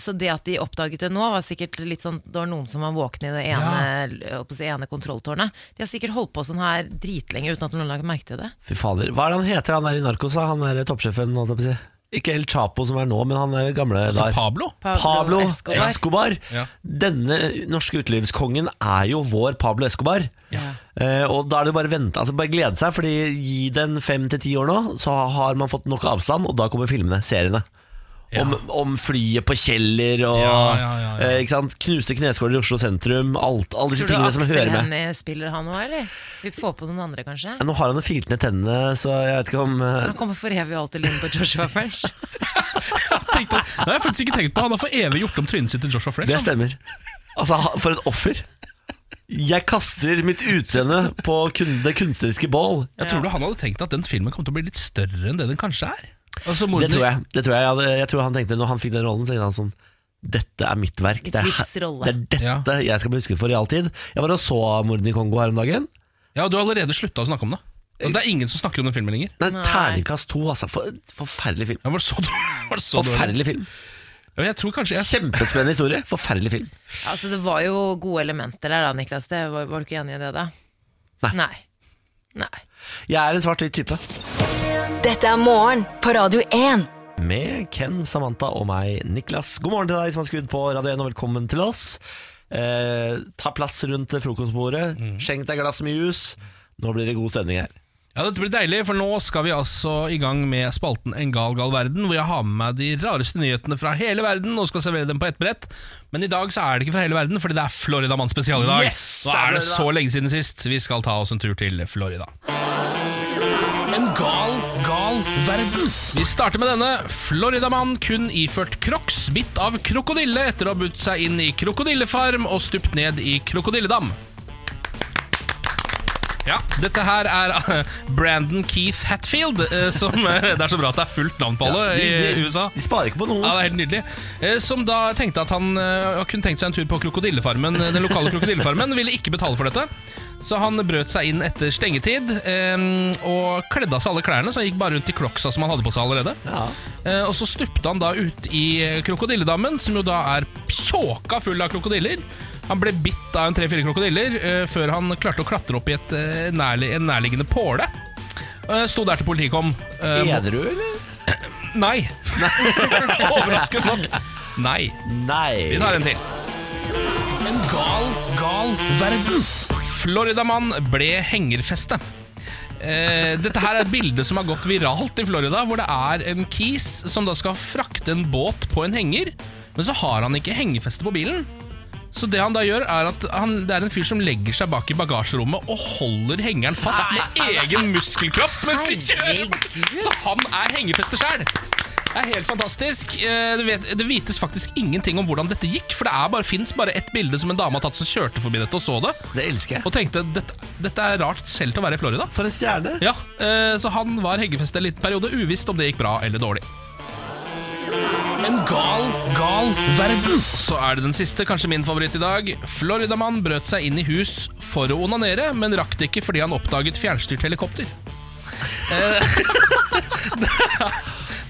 C: så det at de oppdaget det nå, var sikkert litt sånn Det var noen som var våkne i det ene, eh, oppå det ene kontrolltårnet. De har sikkert holdt på sånn her dritlenge uten at noen har merket det.
A: Fy fader. Hva er det han heter, han der i Narkos? da? Han der toppsjefen? holdt jeg på å si? Ikke El Chapo som er nå, men han der gamle
B: Så
A: der.
B: Pablo?
A: Pablo Escobar.
B: Ja.
A: Denne norske utelivskongen er jo vår Pablo Escobar.
C: Ja.
A: Eh, og da er det bare å vente, altså bare glede seg, Fordi gi den fem til ti år nå, så har man fått nok avstand, og da kommer filmene, seriene. Om, om flyet på Kjeller og
B: Ja, ja, ja, ja.
A: eh, ikke sant? knuste kneskåler i Oslo sentrum. Alt, alle disse
C: Tror du
A: tingene som
C: Aksel
A: hører med.
C: Hennie spiller han nå, eller? Vi får på noen andre, kanskje?
A: Ja, Nå har han jo filt ned tennene, så jeg vet ikke om eh,
C: Han kommer for evig og alltid inn på Joshua French.
B: Tenkte, det har jeg faktisk ikke tenkt på. Han har for evig gjort om trynet sitt til Joshua Fresh.
A: Det
C: sånn.
B: han.
A: stemmer. Altså, ha- for et offer. Jeg kaster mitt utseende på kun- det kunstneriske bål.
B: Jeg tror du han hadde tenkt at den filmen kom til å bli litt større enn det den kanskje er. Altså, mordene-
A: Det tror jeg. Det tror jeg, jeg, hadde, jeg tror han tenkte Når han fikk den rollen, så tenkte han sånn Dette er mitt verk.
C: Mitt
A: Det er,
C: livs rolle.»
A: det er dette jeg skal bli husket for i all tid. Jeg var og så mordene i Kongo her om dagen.
B: Ja, Du har allerede slutta å snakke om det. Altså, det er ingen som snakker om den filmen lenger.
A: Nei,
C: Nei.
A: Terningkast to, altså. For, forferdelig film.
B: Ja, var det så dårlig? Var det så dårlig?
A: Forferdelig film.
B: Ja, Jeg tror kanskje jeg
A: Kjempespennende historie. Forferdelig film.
C: Altså, det var jo gode elementer der da, Niklas. Det var, var du ikke enig i det da?
A: Nei.
C: Nei. Nei.
A: Jeg er en svart-hvit type.
D: Dette er morgen på Radio 1.
A: Med Ken, Samantha og meg, Niklas. God morgen til deg som har skrudd på Radio 1, og velkommen til oss. Eh, ta plass rundt frokostbordet.
B: Mm.
A: Skjenk deg glass med jus. Nå blir det god stemning her.
B: Ja, Dette blir deilig, for nå skal vi altså i gang med spalten En gal gal verden, hvor jeg har med meg de rareste nyhetene fra hele verden og skal servere dem på ett brett. Men i dag så er det ikke fra hele verden, fordi det er Floridamann spesial i dag.
A: Yes,
B: Nå
A: det er
B: er det
A: Florida.
B: så lenge siden sist. Vi skal ta oss en tur til Florida. En gal, gal verden. Vi starter med denne. Floridamann kun iført crocs, bitt av krokodille etter å ha budt seg inn i krokodillefarm og stupt ned i krokodilledam. Ja, dette her er eh, Brandon Keith Hatfield, eh, som eh, Det er så bra at det er fullt navn på alle i USA.
A: De sparer ikke på noen.
B: Ja, det er helt nydelig. Eh, Som da tenkte at han eh, kunne tenkt seg en tur på krokodillefarmen. eh, Den lokale krokodillefarmen ville ikke betale for dette. Så han brøt seg inn etter stengetid eh, og kledde av seg alle klærne. Så han gikk bare rundt i crocsa som han hadde på seg allerede.
A: Ja.
B: Eh, Og så stupte han da ut i krokodilledammen, som jo da er pjåka full av krokodiller. Han ble bitt av en tre-fire krokodiller eh, før han klarte å klatre opp i et, eh, nærli en nærliggende påle. Eh, Sto der til politiet kom. Eh,
A: Edru, eller?
B: Nei. Overraskende nok. Nei.
A: Nei.
B: Vi tar en til. En gal, gal verden. Floridamann ble hengerfeste. Eh, dette her er et bilde som har gått viralt i Florida, hvor det er en kis som da skal frakte en båt på en henger, men så har han ikke hengerfeste på bilen. Så det han da gjør er at han, det er en fyr som legger seg bak i bagasjerommet og holder hengeren fast med egen muskelkraft mens de kjører!
C: Herregud.
B: Så han er hengefeste sjæl! Det er helt fantastisk. Eh, Det, vet, det vites faktisk ingenting om hvordan dette gikk, for det er bare, finnes bare ett bilde som en dame har tatt som kjørte forbi dette og så det,
A: Det elsker jeg.
B: og tenkte dette, dette er rart selv til å være i Florida.
A: For en stjerne.
B: Ja, eh, så han var hengefest en liten periode, uvisst om det gikk bra eller dårlig. En gal, gal verden. Så er det den siste, kanskje min favoritt i dag. Floridamann brøt seg inn i hus for å onanere, men rakk det ikke fordi han oppdaget fjernstyrt helikopter. Eh,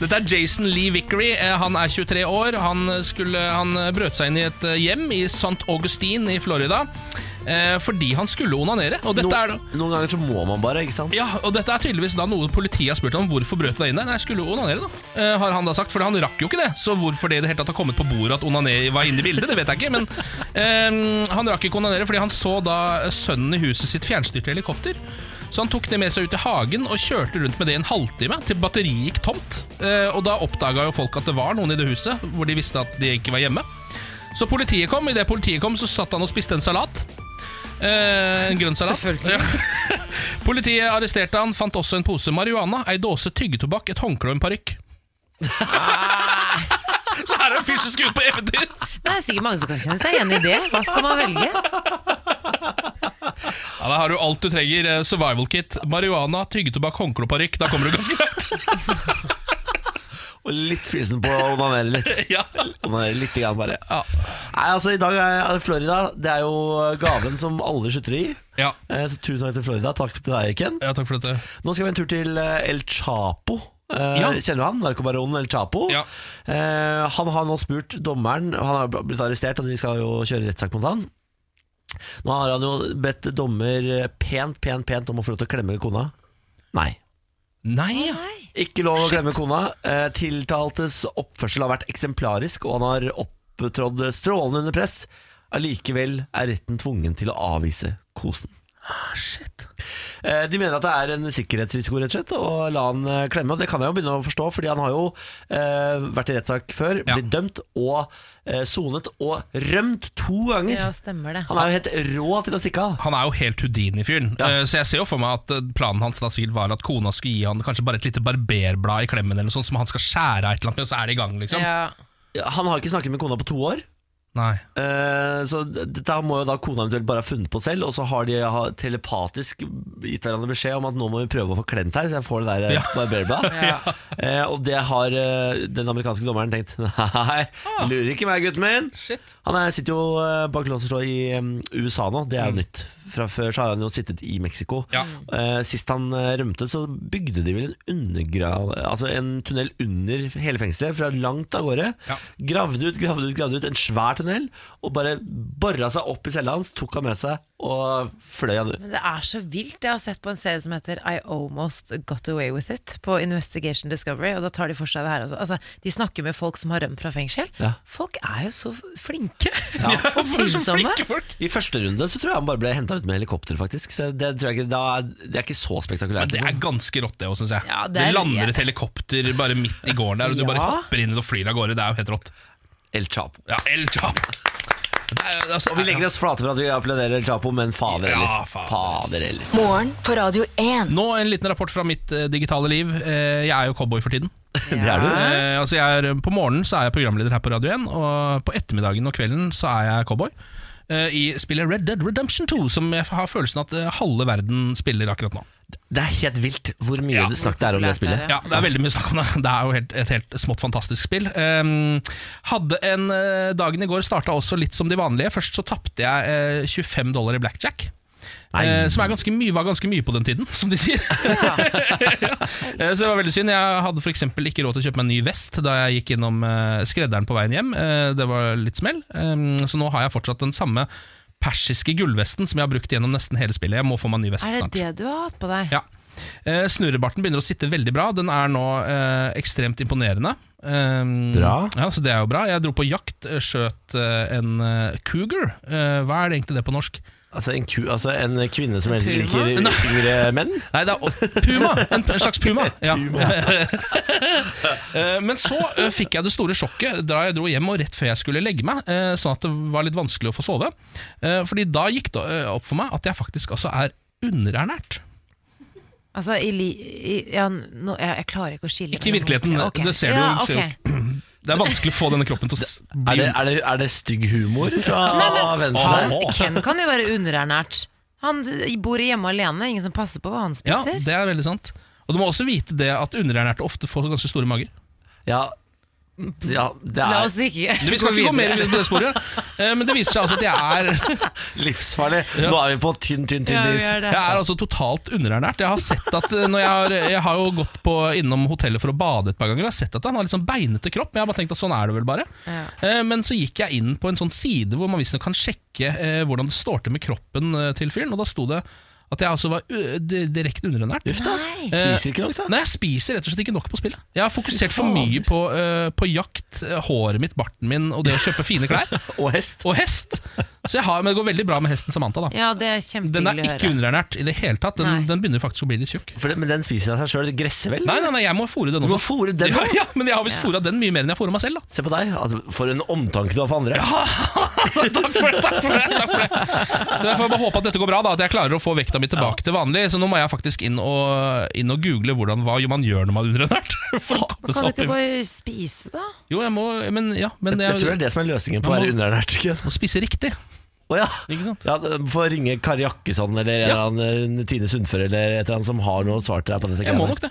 B: Dette er Jason Lee Vickery. Eh, Han er 23 år. Han, skulle, han brøt seg inn i et eh, hjem i St. Augustine i Florida eh, fordi han skulle onanere. Og dette er da
A: noen, noen ganger så må man bare, ikke sant?
B: ja, og dette er tydeligvis da noe politiet har spurt om Hvorfor brøt du deg inn der? Nei, jeg skulle jo onanere da eh, Har han da sagt, for han rakk jo ikke det Så hvorfor det i det hele tatt har kommet på bordet at onanere var inne i bildet Det vet jeg ikke, men eh, Han rakk ikke onanere fordi han så da sønnen i huset sitt fjernstyrte helikopter så han tok det med seg ut i hagen og kjørte rundt med det i en halvtime til batteriet gikk tomt. Eh, og da oppdaga jo folk at det var noen i det huset hvor de visste at de ikke var hjemme. Så politiet kom. Idet politiet kom, så satt han og spiste en salat. Eh, en grønn salat. Selvfølgelig. Politiet arresterte han, fant også en pose marihuana, ei dåse tyggetobakk, et håndkle og en parykk. Så her er det en fyr som skal ut på eventyr!
C: Det er sikkert mange som kan kjenne seg igjen i det. Hva skal man velge?
B: Ja, Der har du alt du trenger. eh, Survival kit, marihuana, tyggetobakk, håndkle og parykk. Da kommer du ganske langt.
A: Og litt fysen på å onanere litt.
B: Ja.
A: Onanere litt grann bare.
B: Ja.
A: Nei, altså I dag er det Florida. Det er jo gaven som alle slutter i.
B: Ja.
A: Eh, Så tusen takk til Florida. Takk til deg, Ken.
B: ja, takk for dette.
A: Nå skal vi en tur til eh, El Chapo. Eh,
B: Ja.
A: Kjenner du han? Narkobaronen El Chapo.
B: Ja.
A: Eh, han har nå spurt dommeren Han har blitt arrestert, og de skal jo kjøre rettssak mot han. Nå har han jo bedt dommer pent, pent, pent om å få lov til å klemme kona. Nei.
B: Nei, ja.
A: Ikke lov å glemme kona. Eh, tiltaltes oppførsel har vært eksemplarisk, og han har opptrådd strålende under press. Allikevel er retten tvungen til å avvise kosen.
B: Ah, Shit.
A: Eh, de mener at det er en sikkerhetsrisiko rett og slett å la han eh, klemme. Og det kan jeg jo begynne å forstå, fordi han har jo eh, vært i rettssak før,
B: Ja.
A: blitt dømt og eh, sonet og rømt to ganger.
C: Ja, stemmer det.
A: Han er jo helt rå til å stikke av.
B: Han er jo helt Houdini-fyren,
A: Ja.
B: eh, så jeg ser jo for meg at eh, planen hans da sikkert var at kona skulle gi han kanskje bare et lite barberblad i klemmen, eller noe sånt som han skal skjære av et eller annet med, og så er det i gang, liksom.
C: Ja.
A: Han har ikke snakket med kona på to år.
B: Nei.
A: Eh, Så d- dette her må jo da kona eventuelt bare ha funnet på selv, og så har de ha- telepatisk gitt hverandre beskjed om at nå må vi prøve å få klemt her, så jeg får det der ja. barberbladet.
C: Ja.
A: Eh, og det har eh, den amerikanske dommeren tenkt. Nei, du lurer ikke meg, gutten min!
B: Shit.
A: Han er, sitter jo eh, bak lås og slå i eh, USA nå, det er jo nytt fra før så har han jo sittet i Mexico.
B: Mm. Ja.
A: Eh, sist han eh, rømte, så bygde de vel en undergrav Altså en tunnel under hele fengselet, fra langt av gårde.
B: Ja.
A: Gravde ut, gravde ut, gravde ut, en svær tunnel, og bare bora seg opp i cella hans, tok han med seg og fløy han ut.
C: Men det er så vilt. Jeg har sett på en serie som heter I Almost Got Away With It på Investigation Discovery, og da tar de for seg det her også. Altså, de snakker med folk som har rømt fra fengsel.
A: Ja.
C: Folk er jo så flinke og
B: For så
C: oppfinnsomme.
B: flinke folk!
A: I første runde så tror jeg han bare ble henta ut med helikopter, faktisk. Så det, tror jeg ikke, da, er- det er ikke så spektakulært. Liksom.
B: Det er ganske rått, det òg, syns jeg.
C: Ja, det
B: det,
C: er-
B: lander et helikopter bare midt i gården der, og du bare
C: Ja.
B: hopper inn i det og flyr av gårde. Det er jo helt rått.
A: liksom. El Chapo.
B: Ja, El Chapo. Det er, altså,
A: Og vi legger oss flate for at vi applauderer El Chapo, men fader
B: Ja,
A: heller.
B: fader.
A: fader heller.
D: Morgen på Radio 1.
B: Nå en liten rapport fra mitt eh, digitale liv. Eh, jeg er jo cowboy for tiden.
A: Det er du.
B: Eh, altså jeg er, på morgenen så er jeg programleder her på Radio 1, og på ettermiddagen og kvelden så er jeg cowboy. eh, I spillet Red Dead Redemption 2, som jeg har følelsen at eh, halve verden spiller akkurat nå.
A: Det er helt vilt hvor mye
B: Ja.
A: det snakk det er om det spillet.
B: Ja, Det er veldig mye snakk om det. Det er jo helt, et helt smått fantastisk spill. Ehm, hadde en eh, Dagen i går starta også litt som de vanlige. Først så tapte jeg eh, 25 dollar i blackjack.
A: Nei.
B: Eh, som er ganske mye, var ganske mye på den tiden, som de sier. Ja. Eh, Så det var veldig synd. Jeg hadde f.eks. ikke råd til å kjøpe meg en ny vest da jeg gikk innom eh, skredderen på veien hjem. Eh, Det var litt smell. Eh, Så nå har jeg fortsatt den samme persiske gullvesten som jeg har brukt gjennom nesten hele spillet. Jeg må få meg en ny vest
C: Er det
B: snart.
C: det du har hatt på deg?
B: Ja. Eh, snurrebarten begynner å sitte veldig bra. Den er nå eh, ekstremt imponerende. Eh,
A: Bra.
B: Ja, så det er jo bra. Jeg dro på jakt, eh, skjøt eh, en eh, cougar. Eh, hva er det egentlig det på norsk?
A: Altså en, ku, altså en kvinne som helst
C: Puma?
A: liker yngre menn?
B: Nei, det er å- puma! En, en slags puma. Ja. Eh, Men så eh, fikk jeg det store sjokket da jeg dro hjem og rett før jeg skulle legge meg, eh, sånn at det var litt vanskelig å få sove. Eh, Fordi da gikk det eh, opp for meg at jeg faktisk altså er underernært.
C: Altså, i li... I, ja, nå, jeg, jeg klarer ikke å skille
B: Ikke i
C: mellom-
B: virkeligheten,
C: Ok.
B: det ser du-
C: Ja,
B: ser
C: ok.
B: Det er vanskelig å få denne kroppen til å s- bli
A: Er det, er, det, er det stygg humor fra Venstre?
C: Han, Ken kan jo være underernært. Han bor hjemme alene, ingen som passer på hva han
B: Ja,
C: spiser.
B: det er veldig sant. Og du må også vite det at underernærte ofte får ganske store mager.
A: Ja, ja, det
C: La
A: er
C: oss ikke
B: Vi skal ikke gå mer inn på det sporet, eh, men det viser seg altså at jeg er
A: livsfarlig. Nå er vi på tynn, tynn,
C: Ja,
A: tynn
C: vi
A: is.
C: gjør det.
B: Jeg er altså totalt underernært. Jeg har sett at eh, når jeg har, jeg har jo gått på, innom hotellet for å bade et par ganger. Jeg har sett at han har litt sånn beinete kropp. Men jeg har bare tenkt at sånn er det vel bare.
C: Ja.
B: Eh, Men så gikk jeg inn på en sånn side hvor man visstnok kan sjekke eh, hvordan det står til med kroppen eh, til fyren. Og da sto det at jeg altså var ø, di- direkte underernært.
A: Uff da.
C: Nei.
A: Spiser ikke nok, da.
B: Nei, jeg spiser rett og slett ikke nok på spillet. Jeg har fokusert for
A: Fy faen.
B: mye på, eh, på jakt, eh, håret mitt, barten min og det å kjøpe fine klær.
A: Og hest.
B: Og hest! Så jeg har, men det går veldig bra med hesten Samantha. da
C: Ja, det er
B: Den er
C: kjempehyggelig å
B: ikke
C: høre.
B: underernært i det hele tatt.
C: Nei.
B: Den, den begynner faktisk å bli litt tjukk.
A: For det, men den spiser av seg sjøl. Det gresser vel?
B: Nei, nei, nei, jeg må fôre den
A: Du må
B: også.
A: fôre den
B: Ja,
A: òg.
B: ja, men jeg har visst fôra den mye mer enn jeg fôra meg selv, da.
A: Se på deg. at- For en omtanke du har for andre.
B: takk for det! takk for det, takk for det Så Jeg får bare håpe at dette går bra, da at jeg klarer å få vekta mi tilbake til vanlig. Så nå må jeg faktisk inn og, inn og google hvordan, hva man gjør når man er underernært. For å komme
C: Kan
B: seg
C: du
B: opp
C: ikke
B: i
C: bare spise, da?
B: Jo, jeg må Men ja. Men
A: Jeg tror det er det som er løsningen på å
B: Man
A: være
B: må-
A: underernært. ikke?
B: må spise riktig.
A: Å ja.
B: Ikke sant?
A: ja Få ringe Kari Jakkesson eller en
B: Ja.
A: eller annen eh, Tine Sundfør eller et eller annet som har noe svar til deg på dette.
B: Jeg må
A: greiene.
B: nok det.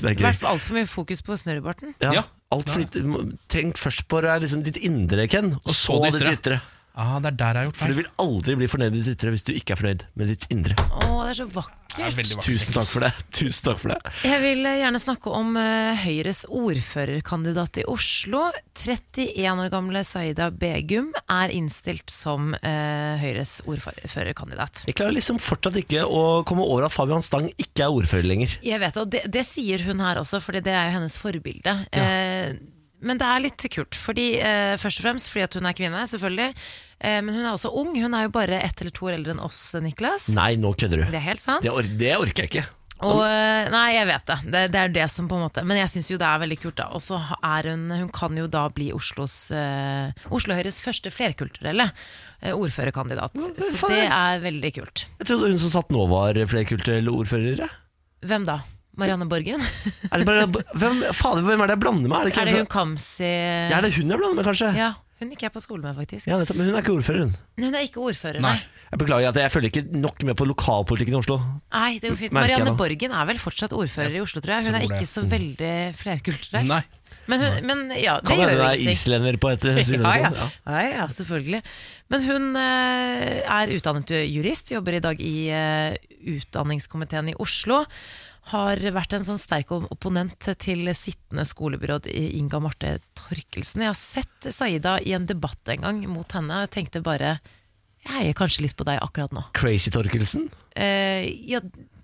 A: Det er
C: I
A: gøy.
C: hvert fall altfor mye fokus på snørrebarten.
A: Ja.
B: Ja.
A: Alt for litt, må- tenk først på det er liksom ditt indre, Ken, og så,
B: så det
A: ditt ytre.
B: Ah, det er der jeg har gjort
A: For du
B: feil.
A: vil aldri bli fornøyd med ditt ytre hvis du ikke er fornøyd med ditt indre.
C: Å, det er så
B: Det er
C: vakkert.
B: veldig vakkert.
A: Tusen takk for det. Tusen takk for det.
C: Jeg vil eh, gjerne snakke om eh, Høyres ordførerkandidat i Oslo. 31 år gamle Saida Begum er innstilt som eh, Høyres ordførerkandidat.
A: Jeg klarer liksom fortsatt ikke å komme over at Fabian Stang ikke er ordfører lenger.
C: Jeg vet, og det, det sier hun her også, fordi det er jo hennes forbilde. Eh, men det er litt kult, fordi, eh, først og fremst fordi at hun er kvinne, selvfølgelig. Eh, men hun er også ung. Hun er jo bare ett eller to år eldre enn oss, Niklas.
A: Nei, nå kødder du.
C: Det er helt sant.
A: Det, or det orker jeg ikke.
C: Og, eh, nei, jeg vet det. det. Det er det som på en måte Men jeg syns jo det er veldig kult, da. Og så er hun Hun kan jo da bli Oslos eh, Oslo Høyres første flerkulturelle eh, ordførerkandidat. Så det er veldig kult.
A: Jeg trodde hun som satt nå var flerkulturell ordfører. jeg.
C: Hvem da? Marianne Borgen?
A: Er det bare, hvem, fader, hvem er det jeg blander med? Er det, ikke
C: er det hun Kamzy
A: Ja, er det hun jeg blander med, kanskje?
C: Ja, hun gikk jeg på skole med, faktisk.
A: Ja, nettopp, men hun er ikke ordfører, hun.
C: Men Hun er ikke ordfører, nei.
B: Nei.
A: Jeg beklager at jeg følger ikke nok med på lokalpolitikken i Oslo.
C: Nei, det går fint.
A: Merker jeg
C: Marianne
A: nå.
C: Borgen er vel fortsatt ordfører i Oslo, tror jeg. Hun
B: tror
C: er
B: det.
C: ikke så veldig flerkulturell.
B: Nei.
C: Men, hun, men ja, det
A: Kan
C: gjør
A: hende
C: jo
A: det er
C: ingenting.
A: islender på et side.
C: Ja, ja.
A: sånn, ja.
C: ja, ja, selvfølgelig. Men hun eh, er utdannet jurist, jobber i dag i eh, utdanningskomiteen i Oslo. Har vært en sånn sterk op- opponent til sittende skolebyråd i- Inga Marte Torkelsen. Jeg har sett Saida i en debatt en gang mot henne, og jeg tenkte bare Jeg heier kanskje litt på deg akkurat nå.
A: Crazy Torkelsen?
C: Eh, ja,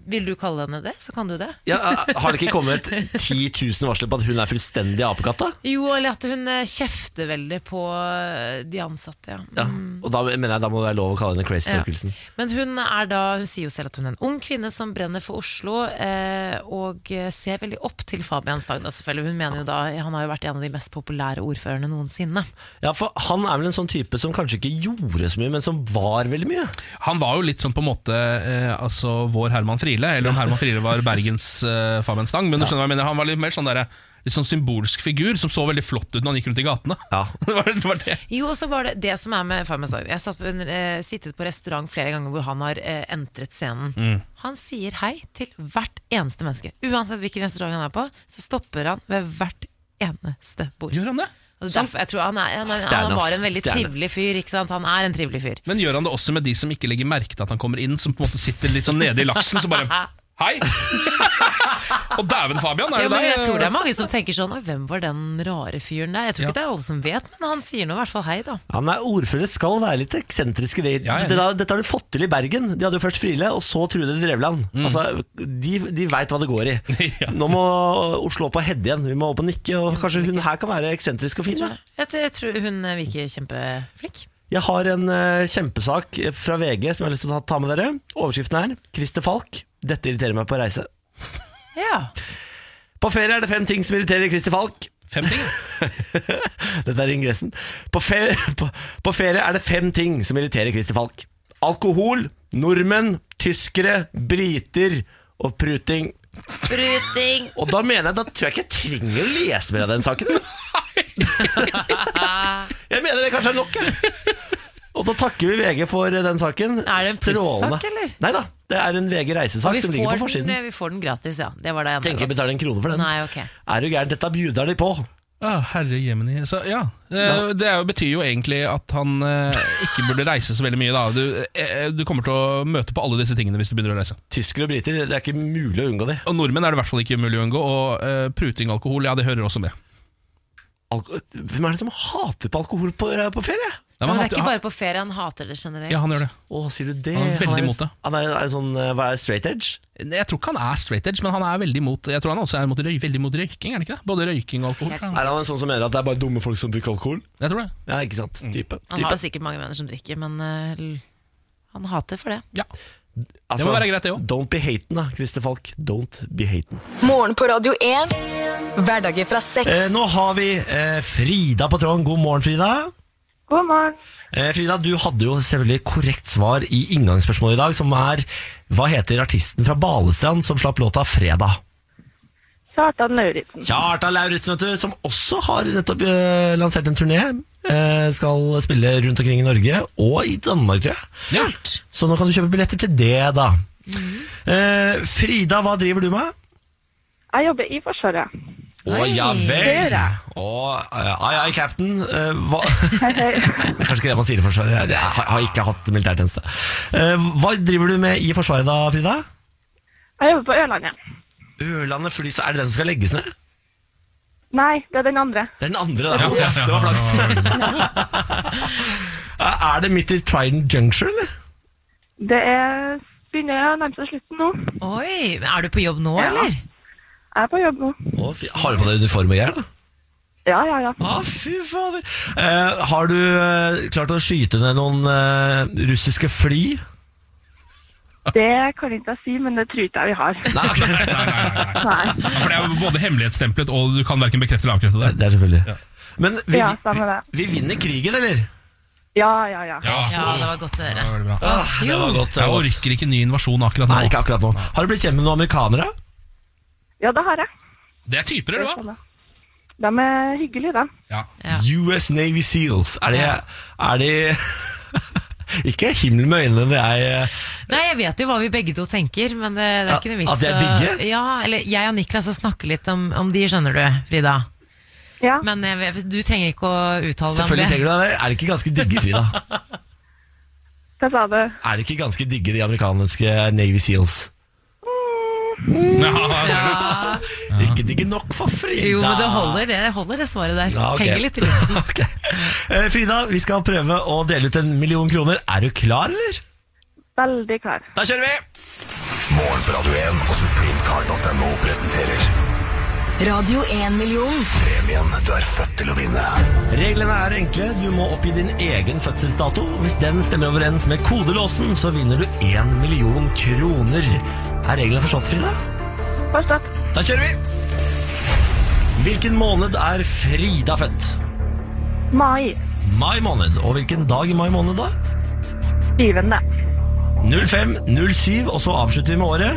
C: vil du kalle henne det, så kan du det.
A: Ja, eh, har det ikke kommet 10 000 varsler på at hun er fullstendig apekatta?
C: Jo, eller at hun eh, kjefter veldig på eh, de ansatte, ja.
A: Ja. Og da mener jeg da må det være lov å kalle henne Crazy
C: Mm. Ja.
A: Torkelsen.
C: Men hun, er da, hun sier jo selv at hun er en ung kvinne som brenner for Oslo, eh, og eh, ser veldig opp til Fabian Stagda, selvfølgelig. Hun mener jo da, Han har jo vært en av de mest populære ordførerne noensinne.
A: Ja, for Han er vel en sånn type som kanskje ikke gjorde så mye, men som var veldig mye.
B: Han var jo litt sånn på en måte eh, altså vår Herman Friele, eller om Herman Friele var Bergens eh, Fabian Stang. Men du skjønner hva jeg mener, han var litt mer sånn der, litt sånn symbolsk figur som så veldig flott ut når han gikk rundt i gatene.
A: Ja.
B: det var, det var det.
C: Jo, og så var det det som er med Fabian Stagda. Jeg satt på en, eh, sittet på restaurant flere ganger hvor han har eh, entret scenen. Han sier hei til hvert eneste menneske. Uansett hvilken restaurant han er på, så stopper han ved hvert eneste bord.
B: Gjør han det?
C: Og det er derfor, jeg tror han, er, han, er,
A: Stjerne,
C: han
A: ass.
C: var en veldig
A: Stjerne.
C: trivelig fyr. Ikke sant? Han er en trivelig fyr.
B: Men gjør han det også med de som ikke legger merke til at han kommer inn, som på en måte sitter litt sånn nede i laksen, så bare Hei! Og dæven, Fabian, er
C: Ja,
B: det
C: men
B: deg?
C: jeg tror det er mange som tenker sånn «Oi, Hvem var den rare fyren der? Jeg tror
B: Ja.
C: ikke det er alle som vet, men han sier nå i hvert fall hei, da.
A: Ja, men Ordførere skal være litt eksentriske. Det.
B: Ja, ja.
A: Dette, dette har de fått til i Bergen. De hadde jo først Friele, og så Trude Drevland. Altså, De, de veit hva det går i.
B: Mm. Ja.
A: Nå må Oslo opp på Hedde igjen. Vi må opp og nikke. Og kanskje hun her kan være eksentrisk og fin? da.
C: Jeg, tror- jeg tror hun eh, virker kjempeflink.
A: Jeg har en eh, kjempesak fra VG som jeg har lyst til å ta- ta med dere. Overskriften er 'Christer Falk. Dette irriterer meg på reise'.
C: Ja.
A: På ferie er det fem ting som irriterer Christer Falk.
B: Fem ting.
A: Dette er ingressen. På, fe på, på ferie er det fem ting som irriterer Christer Falk. Alkohol, nordmenn, tyskere, briter og pruting.
C: Bruting!
A: Og da mener jeg, da tror jeg ikke jeg trenger å lese mer av den saken. jeg mener det kanskje er nok, jeg. Og da takker vi VG for eh, den saken.
C: Er det en plussak, eller?
A: Nei da, det er en VG reisesak
C: Vi
A: som ligger på
C: får, den,
A: forsiden.
C: eh, vi får den gratis, ja. Det var det jeg
A: Tenker jeg betaler en krone for den.
C: Nei, ok.
A: Er du gæren, dette bjuder de på.
B: Ah, herre jemini. Så, ja. Eh, Det er jo, betyr jo egentlig at han eh, ikke burde reise så veldig mye. Da. Du, eh, du kommer til å møte på alle disse tingene hvis du begynner å reise.
A: Tyskere og briter, det er ikke mulig å unngå de.
B: Og nordmenn er det i hvert fall ikke mulig å unngå. Og eh, pruting og alkohol, ja, det hører også med.
A: Alko Hvem er det som hater på alkohol på, eh, på ferie?
B: Ja,
C: Men det
B: han-
C: er ikke bare på ferie, han hater det generelt.
B: han, ja, han gjør det.
A: Å, sier du det?
B: Han er veldig
A: en-
B: imot det.
A: Han er, er en sånn, eh, hva er det, straight edge?
B: Jeg tror ikke han er straight edge, men han er veldig mot Jeg tror han også er mot røy, veldig mot røyking, er han ikke det? Både røyking og alkohol.
C: Helt
B: tror jeg.
A: Er han en sånn som mener at det er bare dumme folk som drikker alkohol?
B: Jeg tror det.
A: Ja, ikke sant?
B: Mm.
A: Type.
C: Han
A: type.
C: har jo sikkert mange venner som drikker, men eh, l- han hater for det.
B: Ja. Det må være greit, det òg.
A: Altså, Don't be haten, da, Christer Falk. Don't be haten.
D: Morgen på Radio 1. Hverdager fra
A: Eh,
D: seks.
A: nå har vi eh, Frida på tråden. God morgen, Frida.
F: God morgen.
A: Eh, Frida, du hadde jo selvfølgelig korrekt svar i inngangsspørsmålet i dag, som er Hva heter artisten fra Balestrand som slapp låta 'Fredag'?
F: Kjartan Lauritzen.
A: Kjartan Lauritzen, vet du, som også har nettopp eh, lansert en turné. eh, skal spille rundt omkring i Norge og i Danmark, tror jeg.
B: Ja.
A: Så nå kan du kjøpe billetter til det, da. Eh, Frida, hva driver du med?
F: Jeg jobber i Forsvaret.
A: Å ja vel!
F: Dere.
A: Å, ai ai, cap'n. Eh, hva Kanskje ikke det man sier i Forsvaret. Jeg- Jeg har- har ikke hatt militærtjeneste. Eh, hva driver du med i Forsvaret da, Frida?
F: Jeg jobber på Ørlandet.
A: Ørlandet fly, så er det den som skal legges ned? Det
F: Nei, det er den andre.
A: er den andre, da.
B: Ja, ja,
A: Det
B: ja.
A: var flaks. er det midt i Trident Juncture, eller?
F: Det er begynner å nærme seg slutten nå.
C: Oi, Er du på jobb nå,
F: Ja.
C: eller?
F: Jeg er på jobb nå.
A: Å, fy, har du på deg uniform og greier, da?
F: Ja, ja, ja.
A: Å, fy fader. Eh, har du eh, klart å skyte ned noen eh, russiske fly?
F: Det kan ikke jeg si, men det tror ikke jeg vi har.
A: Nei, ok.
B: Nei, nei, nei, nei.
F: Nei.
B: Ja, for det er jo både hemmelighetsstemplet, og du kan verken bekrefte eller avkrefte det.
A: Det er selvfølgelig. Men vi,
F: Ja, stemmer det.
A: vi, vi vinner krigen, eller?
F: Ja, ja, ja.
C: Ja, det var godt å
B: det
C: høre.
B: var veldig bra.
A: Ah, det var godt. det var
B: Jeg
A: godt.
B: orker ikke ny invasjon akkurat
A: Nei,
B: nå.
A: ikke akkurat nå. Har du blitt kjent med noen amerikanere?
F: Ja, det har jeg.
B: Det er typer, eller hva?
F: Sånn, da. De er hyggelige, de.
B: Ja.
C: Ja.
A: US Navy Seals. Er de, er de Ikke himmel med øynene, det er eh,
C: Nei, jeg vet jo hva vi begge to tenker, men det, det er
A: Ja,
C: ikke noe vits.
A: at de er
C: å-
A: digge?
C: Ja, eller jeg og Niklas har snakket litt om, om de, skjønner du, Frida.
F: Ja.
C: Men eh, jeg, vet- du trenger ikke å uttale deg om
A: Selvfølgelig
C: det.
A: tenker du deg det. Er det ikke ganske digge, Frida?
F: Hva sa du?
A: Er det ikke ganske digge, de amerikanske Navy Seals? Ikke digge nok for Frida!
C: Ah. Jo, men det holder, det holder det svaret der.
A: Ja, ok.
C: Henger litt i luften.
A: Ok. Eh, Frida, vi skal prøve å dele ut en million kroner. Er du klar, eller?
F: Veldig klar.
A: Da kjører vi!
G: Morgen på Radio 1 og supremecard.no presenterer
D: Radio 1 million.
G: premien du er født til å vinne.
A: Reglene er enkle. Du må oppgi din egen fødselsdato. Hvis den stemmer overens med kodelåsen, så vinner du én million kroner. Er reglene forstått, Frida?
F: Forstått.
A: Da kjører vi! Hvilken måned er Frida født?
F: Mai.
A: Mai måned. Og hvilken dag i mai måned, da?
F: Syvende.
A: 05, 07, og så avslutter vi med året.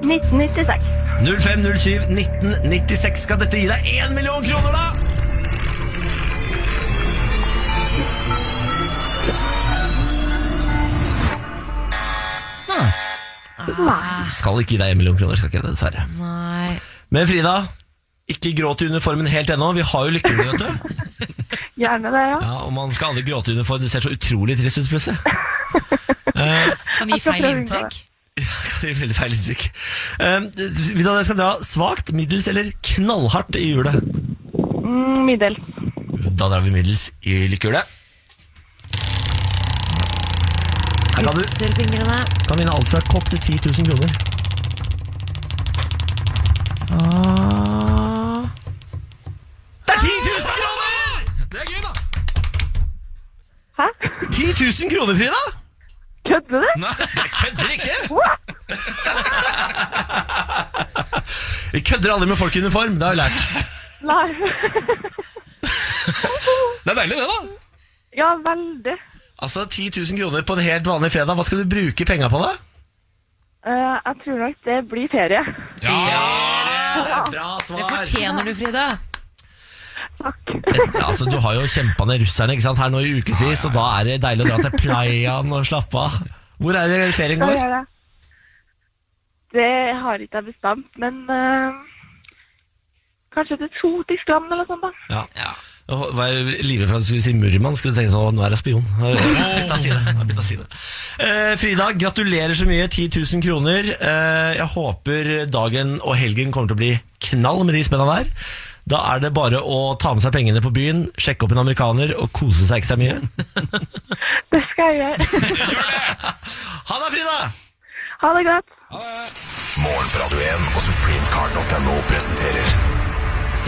F: 1996.
A: 0507-1996 skal dette gi deg 1 million kroner, da! Skal ikke gi deg 1 million kroner, skal ikke det, dessverre.
C: Ah, Nei.
A: Men Frida, ikke gråt i uniformen helt ennå. Vi har jo lykken, vet du.
F: Gjerne det, ja.
A: Ja, og man skal aldri gråte i uniform. Det ser så utrolig trist ut, plutselig.
C: Kan gi
F: skal
C: feil
F: prøve å unngå
C: inntrykk.
A: Det er veldig feil inntrykk. Eh, Vil du at jeg skal dra svakt, middels eller knallhardt i hjulet?
F: Mm, Middels.
A: Da drar vi middels i lykkehjulet. Her kan du
C: Pusser fingrene.
A: kan vinne alt fra kopp til 10 000 kroner.
B: Ah.
C: Åh.
A: Det er 10 000 kroner!
B: Det er gøy, da!
F: Hæ?
A: 10 000 kroner, Frida!
F: Kødder du?
A: Jeg kødder ikke!
F: What?
A: Vi kødder aldri med folk i uniform. Det har jeg lært.
F: Nei.
B: Det er deilig, det, da.
F: ja, veldig.
A: Altså, 10 000 kroner på en helt vanlig fredag. Hva skal du bruke penga på, da?
F: Eh, jeg tror nok det blir ferie.
A: Bra
C: Det fortjener du, Frida.
F: Takk.
A: Altså, du har jo kjempa ned russerne ikke sant? her nå i ukevis, og da er det deilig å dra til playaen og slappe av. Hvor er det ferien
F: Skal
A: går?
F: jeg gjøre det? Det har ikke jeg bestemt, men eh, kanskje til Sotiskland eller noe sånt da.
A: Ja. Jeg var livredd for at du skulle si Murmansk. Jeg tenkte sånn, nå er jeg spion. Jeg har byttet side, jeg har byttet side. Eh, Frida, gratulerer så mye. 10 000 kroner. Eh, jeg håper dagen og helgen kommer til å bli knall med de spenna der. Da er det bare å ta med seg pengene på byen, sjekke opp en amerikaner og kose seg ekstra mye.
F: Det skal jeg gjøre.
A: Ha det, Frida!
F: Ha det godt.
G: Morgen på Radio 1 og supremecard.no presenterer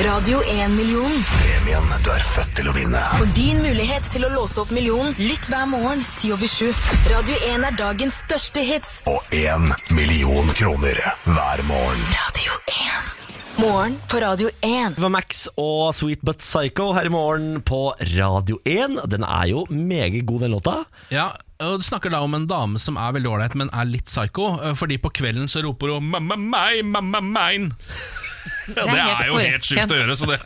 D: Radio 1 million.
G: premien du er født til å vinne.
D: For din mulighet til å låse opp millionen, lytt hver morgen 10 over 7. Radio 1 er dagens største hits.
G: Og 1 million kroner hver morgen.
D: Radio 1. Morgen på Radio 1.
A: Det var Max og Sweet But Psycho her i morgen på Radio 1. Den er jo meget god, den låta.
B: Ja, og Du snakker da om en dame som er veldig ålreit, men er litt psycho. eh, Fordi på kvelden så roper hun 'mamma meg, mamma mein'. Ja, det
C: helt
B: er jo helt
C: korrekt,
B: sjukt å
C: Ken.
B: gjøre, så det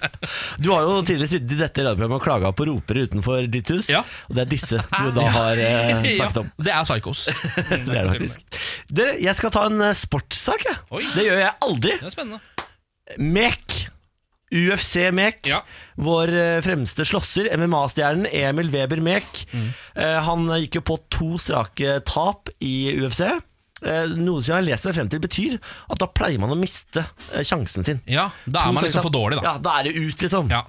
A: Du har jo tidligere sittet i dette radioprogrammet og klaga på ropere utenfor ditt hus.
B: Ja.
A: Og det er disse du da har eh,
B: ja,
A: snakket om.
B: Det er psychos.
A: Det er det faktisk. Dere, jeg skal ta en eh, sportssak, jeg.
B: Oi.
A: Det gjør jeg aldri.
B: Det er spennende.
A: Mek. UFC Mek.
B: Ja.
A: Vår eh, fremste slåsser, MMA-stjernen Emil Weber Mek.
B: Mm.
A: Eh, han gikk jo på to strake tap i UFC. Eh, noe som jeg har lest meg frem til betyr at da pleier man å miste eh, sjansen sin.
B: Ja, Da er man liksom for dårlig, da.
A: Ja, da er det ut, liksom.
B: Ja.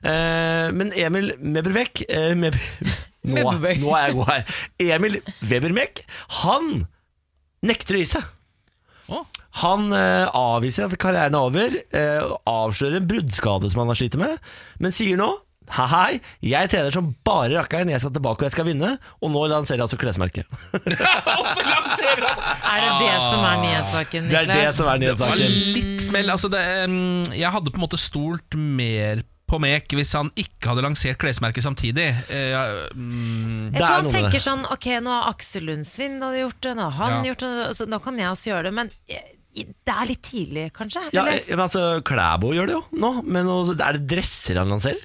A: Eh, men Emil Mebervek eh, Meb nå,
C: Mebervek.
A: nå er jeg god her. Emil Webermek, han nekter å gi seg.
B: Å.
A: Han eh, avviser at karrieren er over, eh, og avslører en bruddskade som han har slitt med, men sier nå Hei, hei, jeg trener som bare rakkeren, jeg skal tilbake og jeg skal vinne. Og nå lanserer jeg altså klesmerket.
B: Og så lanserer han!
C: Er det det som er nyhetssaken,
A: Det er det
C: Niklas?
A: som er
B: Det var
A: nyhetssaken.
B: litt smell. Altså det, mm, jeg hadde på en måte stolt mer på Mek hvis han ikke hadde lansert klesmerket samtidig. Eh, ja,
A: Det
B: mm,
C: Jeg
A: er
C: tror han
A: noe med
C: tenker
A: det.
C: sånn Ok, nå har Aksel Lundsvin hadde gjort det, nå har han
B: Ja.
C: gjort det, så nå kan jeg også gjøre det. Men eh, det er litt tidlig, kanskje?
A: Ja,
C: eller?
A: eh, men altså, Klæbo gjør det jo nå, men også, er det dresser han lanserer?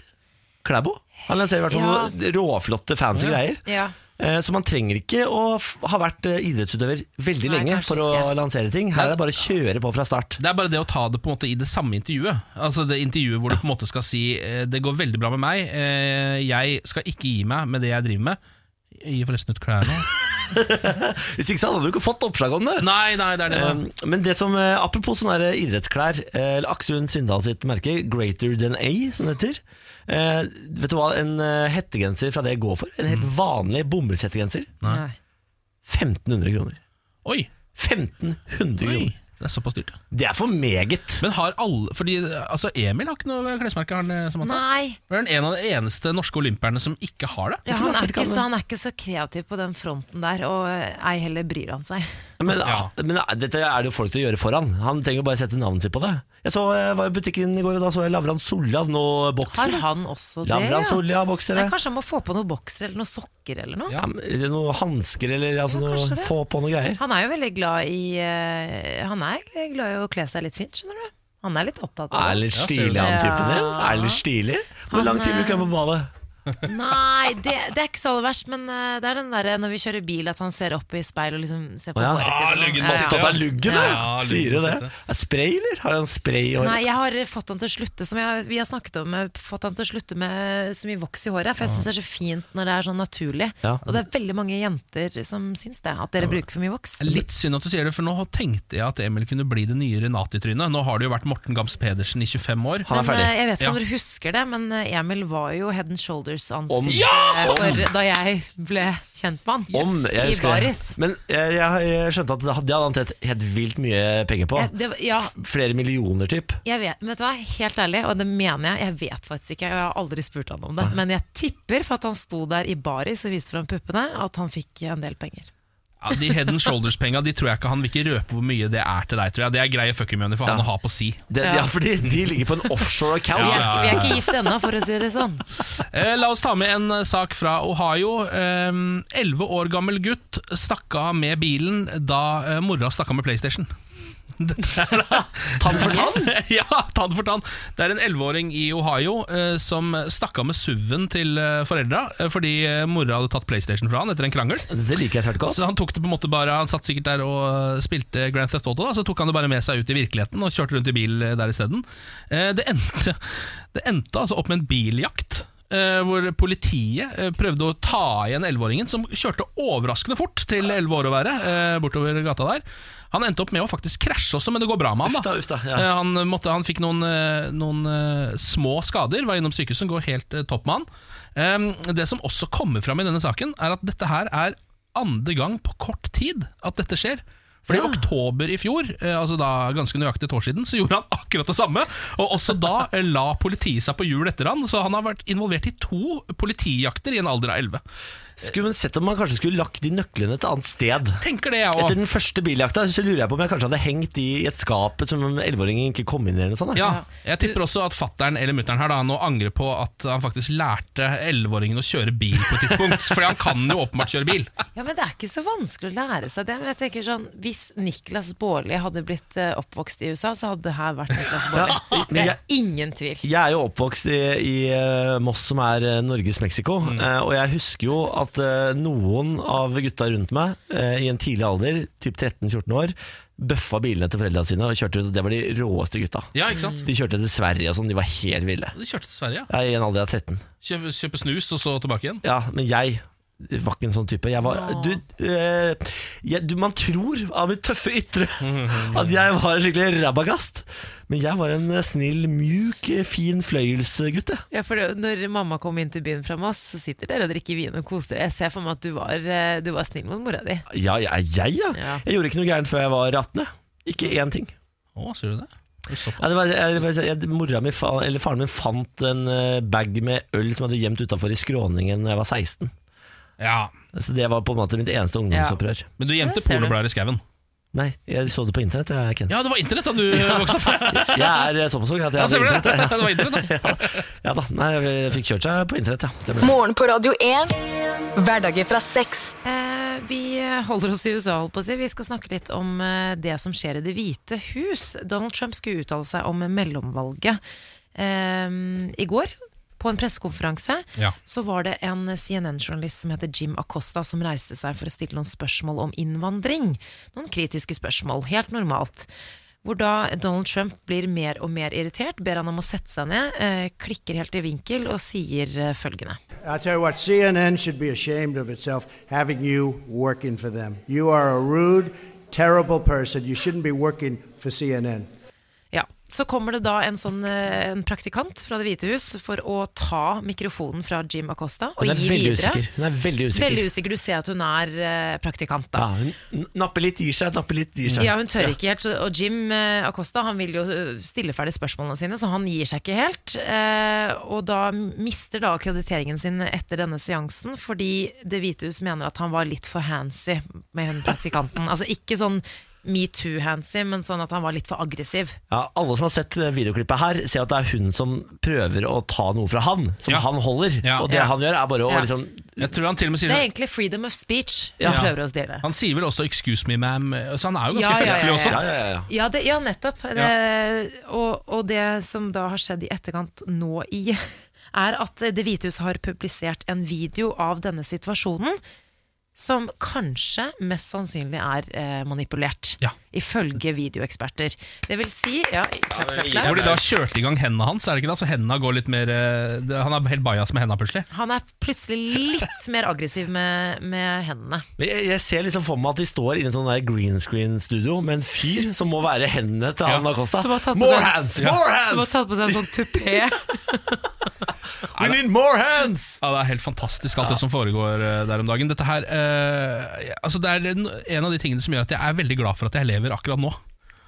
A: Klæbo? Han lanserer i hvert fall
C: Ja.
A: noen råflotte, fancy greier.
C: Ja.
A: Eh, Så man trenger ikke å f- ha vært eh, idrettsutøver veldig
C: Nei,
A: lenge
C: kanskje
A: for å
C: ikke.
A: lansere ting. Her er det bare å kjøre på fra start.
B: Det er bare det å ta det på en måte i det samme intervjuet. Altså det intervjuet hvor du på en måte skal si eh, 'det går veldig bra med meg', eh, 'jeg skal ikke gi meg med det jeg driver med'. Jeg gir forresten ut klær nå.
A: Hvis ikke så hadde du ikke fått oppslag om det.
B: Nei, nei, det er det.
A: Eh, Men det som, eh, apropos sånne her idrettsklær eh, eller Aksel Lund Svindal sitt merke, Greater Than A, som det heter. Eh, vet du hva en eh, hettegenser fra det går for? En helt
C: Mm.
A: vanlig bomullshettegenser.
C: Nei.
A: 1500 kroner.
B: Oi,
A: 1500
B: oi.
A: kroner.
B: Det er såpass dyrt. ja.
A: Det er for meget.
B: Men har alle Fordi altså Emil har ikke noe klesmerke, har han eh, Samantha?
C: Nei.
B: Er han en av de eneste norske olympierne som ikke har det?
C: Ja,
A: Hvorfor
C: han,
A: laser
C: er
A: ikke
C: ikke
A: alle?
C: så, han er ikke så kreativ på den fronten der, og eh, ei heller bryr han seg.
A: Men,
B: Ja.
A: men eh, dette er det jo folk til å gjøre foran. Han trenger jo bare sette navnet sitt på det. Jeg så, jeg var i butikken i går, og da så jeg Lavran Sollav nå
C: Har
A: bokser.
C: han også det?
A: Lavran Sollav
C: Nei,
A: boksere.
C: kanskje han må få på noe bokser eller noen sokker eller noe?
B: Ja.
A: Ja, men noe hansker eller altså,
C: Ja, kanskje
A: noe,
C: det.
A: få på noe greier.
C: Han er jo veldig glad i eh, Han er egentlig glad i å kle seg litt fint, skjønner du. Han er litt
A: Er
C: opptatt av det.
A: litt
B: Ja,
A: stilig,
B: ser du
A: han
C: det?
A: typen din.
C: Ja.
A: Er litt stilig. Hvor lang tid bruker han på badet?
C: Nei, det, det er ikke så aller verst, men eh, det er den derre når vi kjører bil, at han ser opp i speil og liksom ser på
A: Å, ja.
C: håret sitt. og
B: Ah,
C: sånn.
B: luggen må
C: Ja,
B: sitte
A: Tatt
C: ja.
A: av luggen, da?
B: Ja, luggen
A: Sier du det?
B: sitter.
A: Er spray, eller? Har han spray i
C: Nei,
A: håret?
C: jeg har fått han til å slutte Som jeg, vi har snakket om, jeg har fått han til å slutte med så mye voks i håret. For jeg syns det er så fint når det er sånn naturlig.
A: Ah. Ja.
C: Og det er veldig mange jenter som syns det, at dere bruker for mye voks.
B: Litt synd at du sier det, for nå tenkte jeg at Emil kunne bli det nye Renati-trynet. Nå har det jo vært Morten Gams Pedersen i 25 år.
A: Han er
C: Men,
A: ferdig.
C: eh, jeg vet ikke om
B: Ja.
C: dere husker det, men eh, Emil var jo head and
A: Om-
C: shoulders-ansikt
A: Ja!
C: eh, for da jeg ble kjent med han.
A: Om, jeg
C: I
A: husker det.
C: baris.
A: Men jeg, jeg, jeg skjønte at det hadde det hadde han tjent helt vilt mye penger på.
C: Eh, Det, var- ja,
A: Flere millioner, typ.
C: jeg vet, vet du hva, helt ærlig, og det mener jeg, jeg vet faktisk ikke, og jeg har aldri spurt han om det, men jeg tipper for at han sto der i baris og viste fram puppene, at han fikk en del penger.
B: Ja, de Head and Shoulders-penga de tror jeg ikke han vil ikke røpe hvor mye det er til deg. tror jeg Det er greie fucking money for han å ha på si.
A: Det, ja.
C: Ja.
A: fordi de ligger på en offshore account.
C: Vi er,
B: Ja, ja,
C: vi er ikke gift ennå, for å si det sånn.
B: Eh, la oss ta med en eh, sak fra Ohio. Ehm, Elleve år gammel gutt stakk av med bilen da eh, mora stakk av med PlayStation.
A: Tann for tann?
B: ja, tann for tann. Det er en elleveåring i Ohio eh, som stakk av med SUV-en til eh, foreldra eh, fordi eh, mora hadde tatt PlayStation fra han etter en krangel.
A: Det liker jeg svært godt.
B: Så han tok det på en måte bare Han satt sikkert der og øh, spilte Grand Theft Auto, da, så tok han det bare med seg ut i virkeligheten og kjørte rundt i bil øh, der isteden. Eh, Det endte, det endte altså opp med en biljakt. eh, hvor politiet eh, prøvde å ta igjen 11-åringen, som kjørte overraskende fort til 11 år å være, eh, bortover gata der. Han endte opp med å faktisk krasje også, men det går bra med han.
A: Uff
B: da
A: da, uff da, ja.
B: Eh, han, måtte, han fikk noen, eh, noen eh, små skader, var innom sykehuset, går helt eh, topp med han. Ehm, det som også kommer fram i denne saken, er at dette her er andre gang på kort tid at dette skjer. For i
A: Ah.
B: oktober i fjor, eh, altså da ganske nøyaktig et år siden, så gjorde han akkurat det samme. Og også da eh, la politiet seg på hjul etter han, så han har vært involvert i to politijakter i en alder av elleve.
A: Skulle man sett om man kanskje skulle lagt de nøklene et annet sted?
B: Tenker det, jeg
A: Etter
B: òg.
A: den første biljakta så lurer jeg på om jeg kanskje hadde hengt de i et skap som en 11-åring ikke kom inn i. eller noe sånt. da.
B: Ja, jeg tipper også at fattern eller mutter'n her da, nå angrer på at han faktisk lærte 11-åringen å kjøre bil på et tidspunkt. Fordi han kan jo åpenbart kjøre bil.
C: Ja, men Det er ikke så vanskelig å lære seg det. Men jeg tenker sånn, Hvis Niklas Baarli hadde blitt eh, oppvokst i USA, så hadde det her vært Niklas Baarli.
A: men
C: Det
A: jeg-
C: er ingen tvil.
A: Jeg er jo oppvokst i, i eh, Moss, som er eh, Norges Mexico.
B: Mm.
A: eh, Og jeg husker jo at eh, noen av gutta rundt meg eh, i en tidlig alder, typ 13-14 år, bøffa bilene til foreldrene sine. Og kjørte, det var de råeste gutta.
B: Ja, ikke
C: Mm.
B: sant?
A: De kjørte til Sverige og sånn, de var helt ville.
B: Du kjørte til Sverige, ja.
A: Jeg er i en alder av 13.
B: Kjøpe, kjøpe snus, og så tilbake igjen.
A: Ja, men jeg var ikke en sånn type. Jeg var, du, eh, jeg, du, man tror av mitt tøffe ytre at jeg var en skikkelig rabagast. Men jeg var en eh, snill, mjuk, eh, fin fløyelsgutt. jeg.
C: Ja, for det- Når mamma kom inn til byen fra Moss, så sitter dere og drikker vin og koser dere. Jeg ser for meg at du var, eh, du var snill mot mora di.
A: Ja, jeg, jeg, ja.
C: Ja.
A: Jeg gjorde ikke noe gærent før jeg var 18. jeg. Ikke én ting.
B: Å, sier du det? Det er såpass.
A: Ja, det var, jeg, jeg, jeg, mora mi, fa, eller Faren min fant en eh, bag med øl som jeg hadde gjemt utafor i skråningen da jeg var 16.
B: Ja,
A: Så Det var på en måte mitt eneste ungdomsopprør.
B: Men du gjemte
C: Det ser du.
B: pornoblader i skauen.
A: Nei, jeg så det på internett. Jeg, Ken.
B: Ja, det var internett da du vokste opp!
A: jeg er eh, såpass ung at jeg
B: Ja,
A: hadde
B: stemmer
A: internett.
B: det!
A: jeg.
B: Det var internett, da.
A: Ja da, nei, jeg fikk kjørt seg på internett, ja. Stemmer.
D: Morgen på Radio 1. Hverdager fra seks.
C: Eh, vi eh, holder oss i USA, holdt på å si. Vi skal snakke litt om eh, det som skjer i Det hvite hus. Donald Trump skulle uttale seg om mellomvalget eh, i går. på en pressekonferanse
B: Ja.
C: så var det en CNN-journalist som heter Jim Acosta som reiste seg for å stille noen spørsmål om innvandring. Noen kritiske spørsmål, helt normalt. Hvor da Donald Trump blir mer og mer irritert, ber han om å sette seg ned, eh, klikker helt i vinkel og sier eh, følgende.
E: I'll tell you what, CNN should be ashamed of itself having you working for them. You are a rude, terrible person. You shouldn't be working for CNN.
C: Ja, Så kommer det da en, sånn, eh, en praktikant fra Det hvite hus for å ta mikrofonen fra Jim Acosta og
A: Hun er
C: gi
A: veldig
C: videre.
A: usikker. Hun er veldig usikker.
C: Veldig usikker. Du ser at hun er eh, praktikant, da.
A: Ja, hun n- napper litt, gir seg, napper litt, gir seg.
C: Ja, hun tør ikke helt. så- Og Jim eh, Acosta han vil jo eh, stille ferdig spørsmålene sine, så han gir seg ikke helt. Eh, og da mister da akkrediteringen sin etter denne seansen, fordi Det hvite hus mener at han var litt for handsy med hun praktikanten. altså ikke sånn metoo-handsy, men sånn at han var litt for aggressiv.
A: Ja, alle som har sett det videoklippet her, ser at det er hun som prøver å ta noe fra han, som
B: Ja.
A: han holder.
B: Ja.
A: Og det
C: Ja.
A: han gjør, er bare å
C: Ja.
A: liksom
B: Jeg tror han til og med
C: Det
B: sier
C: er egentlig freedom of speech hun
B: Ja.
C: prøver å stjele.
B: Han sier vel også 'excuse me, ma'am', så han er jo ganske
C: Ja, ja, ja,
B: høflig
C: ja.
B: også.
A: Ja, ja, ja.
C: Ja, det, ja nettopp. Det, og, og det som da har skjedd i etterkant nå i, er at Det hvite hus har publisert en video av denne situasjonen. Som kanskje mest sannsynlig er eh, manipulert,
B: Ja.
C: ifølge videoeksperter. Det vil si ja, klapp, klapp, klapp.
B: Hvor de da kjørte i gang hendene hans, er det ikke det? Så hendene går litt mer eh, det- Han er helt bajas med hendene plutselig.
C: Han er plutselig litt mer aggressiv med, med hendene.
A: Men jeg, jeg ser liksom for meg at de står inne i en sånn der green screen-studio med en fyr som må være hendene til han
B: Ja.
A: Acosta.
C: Som har tatt på
A: More
C: seg-
A: hands! More
C: Som har
A: hands!
C: tatt på seg en sånn tupé.
A: We need more hands!
B: Ja, Det er helt fantastisk alt det som foregår eh, der om dagen. Dette her, eh, altså Det er en en av de tingene som gjør at jeg er veldig glad for at jeg lever akkurat nå.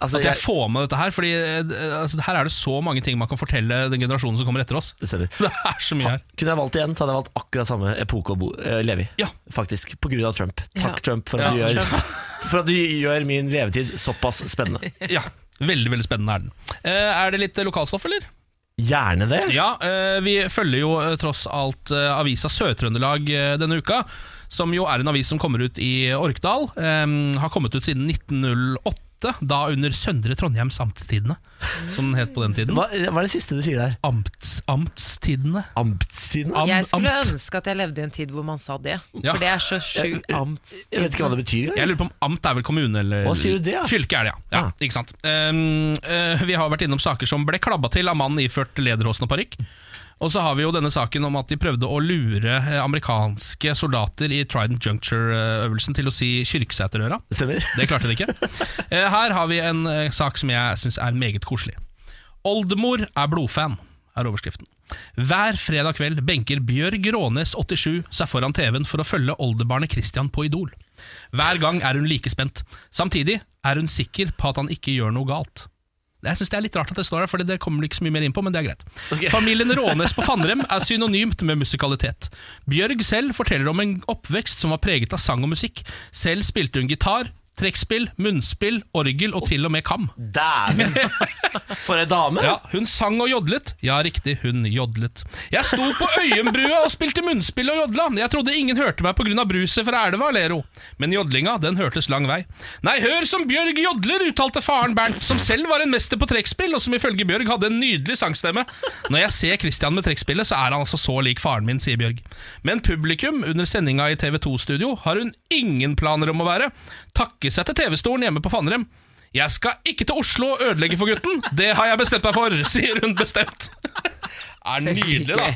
A: Altså,
B: At jeg får med dette her. Fordi eh, altså, Her er det så mange ting man kan fortelle den generasjonen som kommer etter oss.
A: Det stemmer.
B: Det er så mye her.
A: Kunne jeg valgt igjen, så hadde jeg valgt akkurat samme epoke å bo, eh, leve i.
B: Ja.
A: Faktisk. På grunn av Trump.
C: Ja.
A: Takk, Trump, for at,
B: Ja,
A: du gjør, for at du gjør min levetid såpass spennende.
B: Ja, Veldig veldig spennende er den. Eh, er det litt eh, lokalstoff, eller?
A: Gjerne det.
B: Ja, eh, vi følger jo eh, tross alt eh, avisa Sør-Trøndelag eh, denne uka. Som jo er en avis som kommer ut i Orkdal. eh, har kommet ut siden 1908, da under Søndre Trondheims Amtstidene, som den het på den tiden.
A: Hva, hva er det siste du sier der?
B: Amts, amtstidene.
A: Amtstiden?
B: Am-
C: Jeg skulle
B: amt.
C: ønske at jeg levde i en tid hvor man sa det.
B: Ja.
C: For det er så sjukt amts...
A: Jeg vet ikke hva det betyr engang.
B: Jeg lurer på om amt er vel kommune eller
A: Hva sier du det, da?
B: Fylke er det, ja. ja,
A: Ah.
B: Ikke sant. Um, eh, vi har vært innom saker som ble klabba til av mannen iført lederhosen og parykk. Og så har vi jo denne saken om at de prøvde å lure eh, amerikanske soldater i Trident Juncture-øvelsen til å si Kyrksæterøra.
A: Stemmer.
B: Det klarte de ikke. Eh, Her har vi en eh, sak som jeg syns er meget koselig. Oldemor er blodfan, er overskriften. Hver fredag kveld benker Bjørg Rånes 87 seg foran TV-en for å følge oldebarnet Christian på Idol. Hver gang er hun like spent. Samtidig er hun sikker på at han ikke gjør noe galt. Jeg synes Det er litt rart at det står her, for det kommer det ikke så mye mer inn på, men det er greit. Familien Rånes på Fannrem er synonymt med musikalitet. Bjørg selv forteller om en oppvekst som var preget av sang og musikk. Selv spilte hun gitar, trekkspill, munnspill, orgel og til og med kam.
A: Dæven! For ei dame!
B: Ja, Hun sang og jodlet. Ja, riktig, hun jodlet. Jeg sto på Øyenbrua og spilte munnspill og jodla. Jeg trodde ingen hørte meg pga. bruset fra elva, ler hun. Men jodlinga, den hørtes lang vei. Nei, hør som Bjørg jodler, uttalte faren Bernt, som selv var en mester på trekkspill, og som ifølge Bjørg hadde en nydelig sangstemme. Når jeg ser Christian med trekkspillet, så er han altså så lik faren min, sier Bjørg. Men publikum under sendinga i TV2-studio har hun ingen planer om å være. Takke seg til TV-stolen hjemme på Fannrem. Jeg skal ikke til Oslo og ødelegge for gutten. Det har jeg bestemt meg for, sier hun bestemt. Er nydelig, da.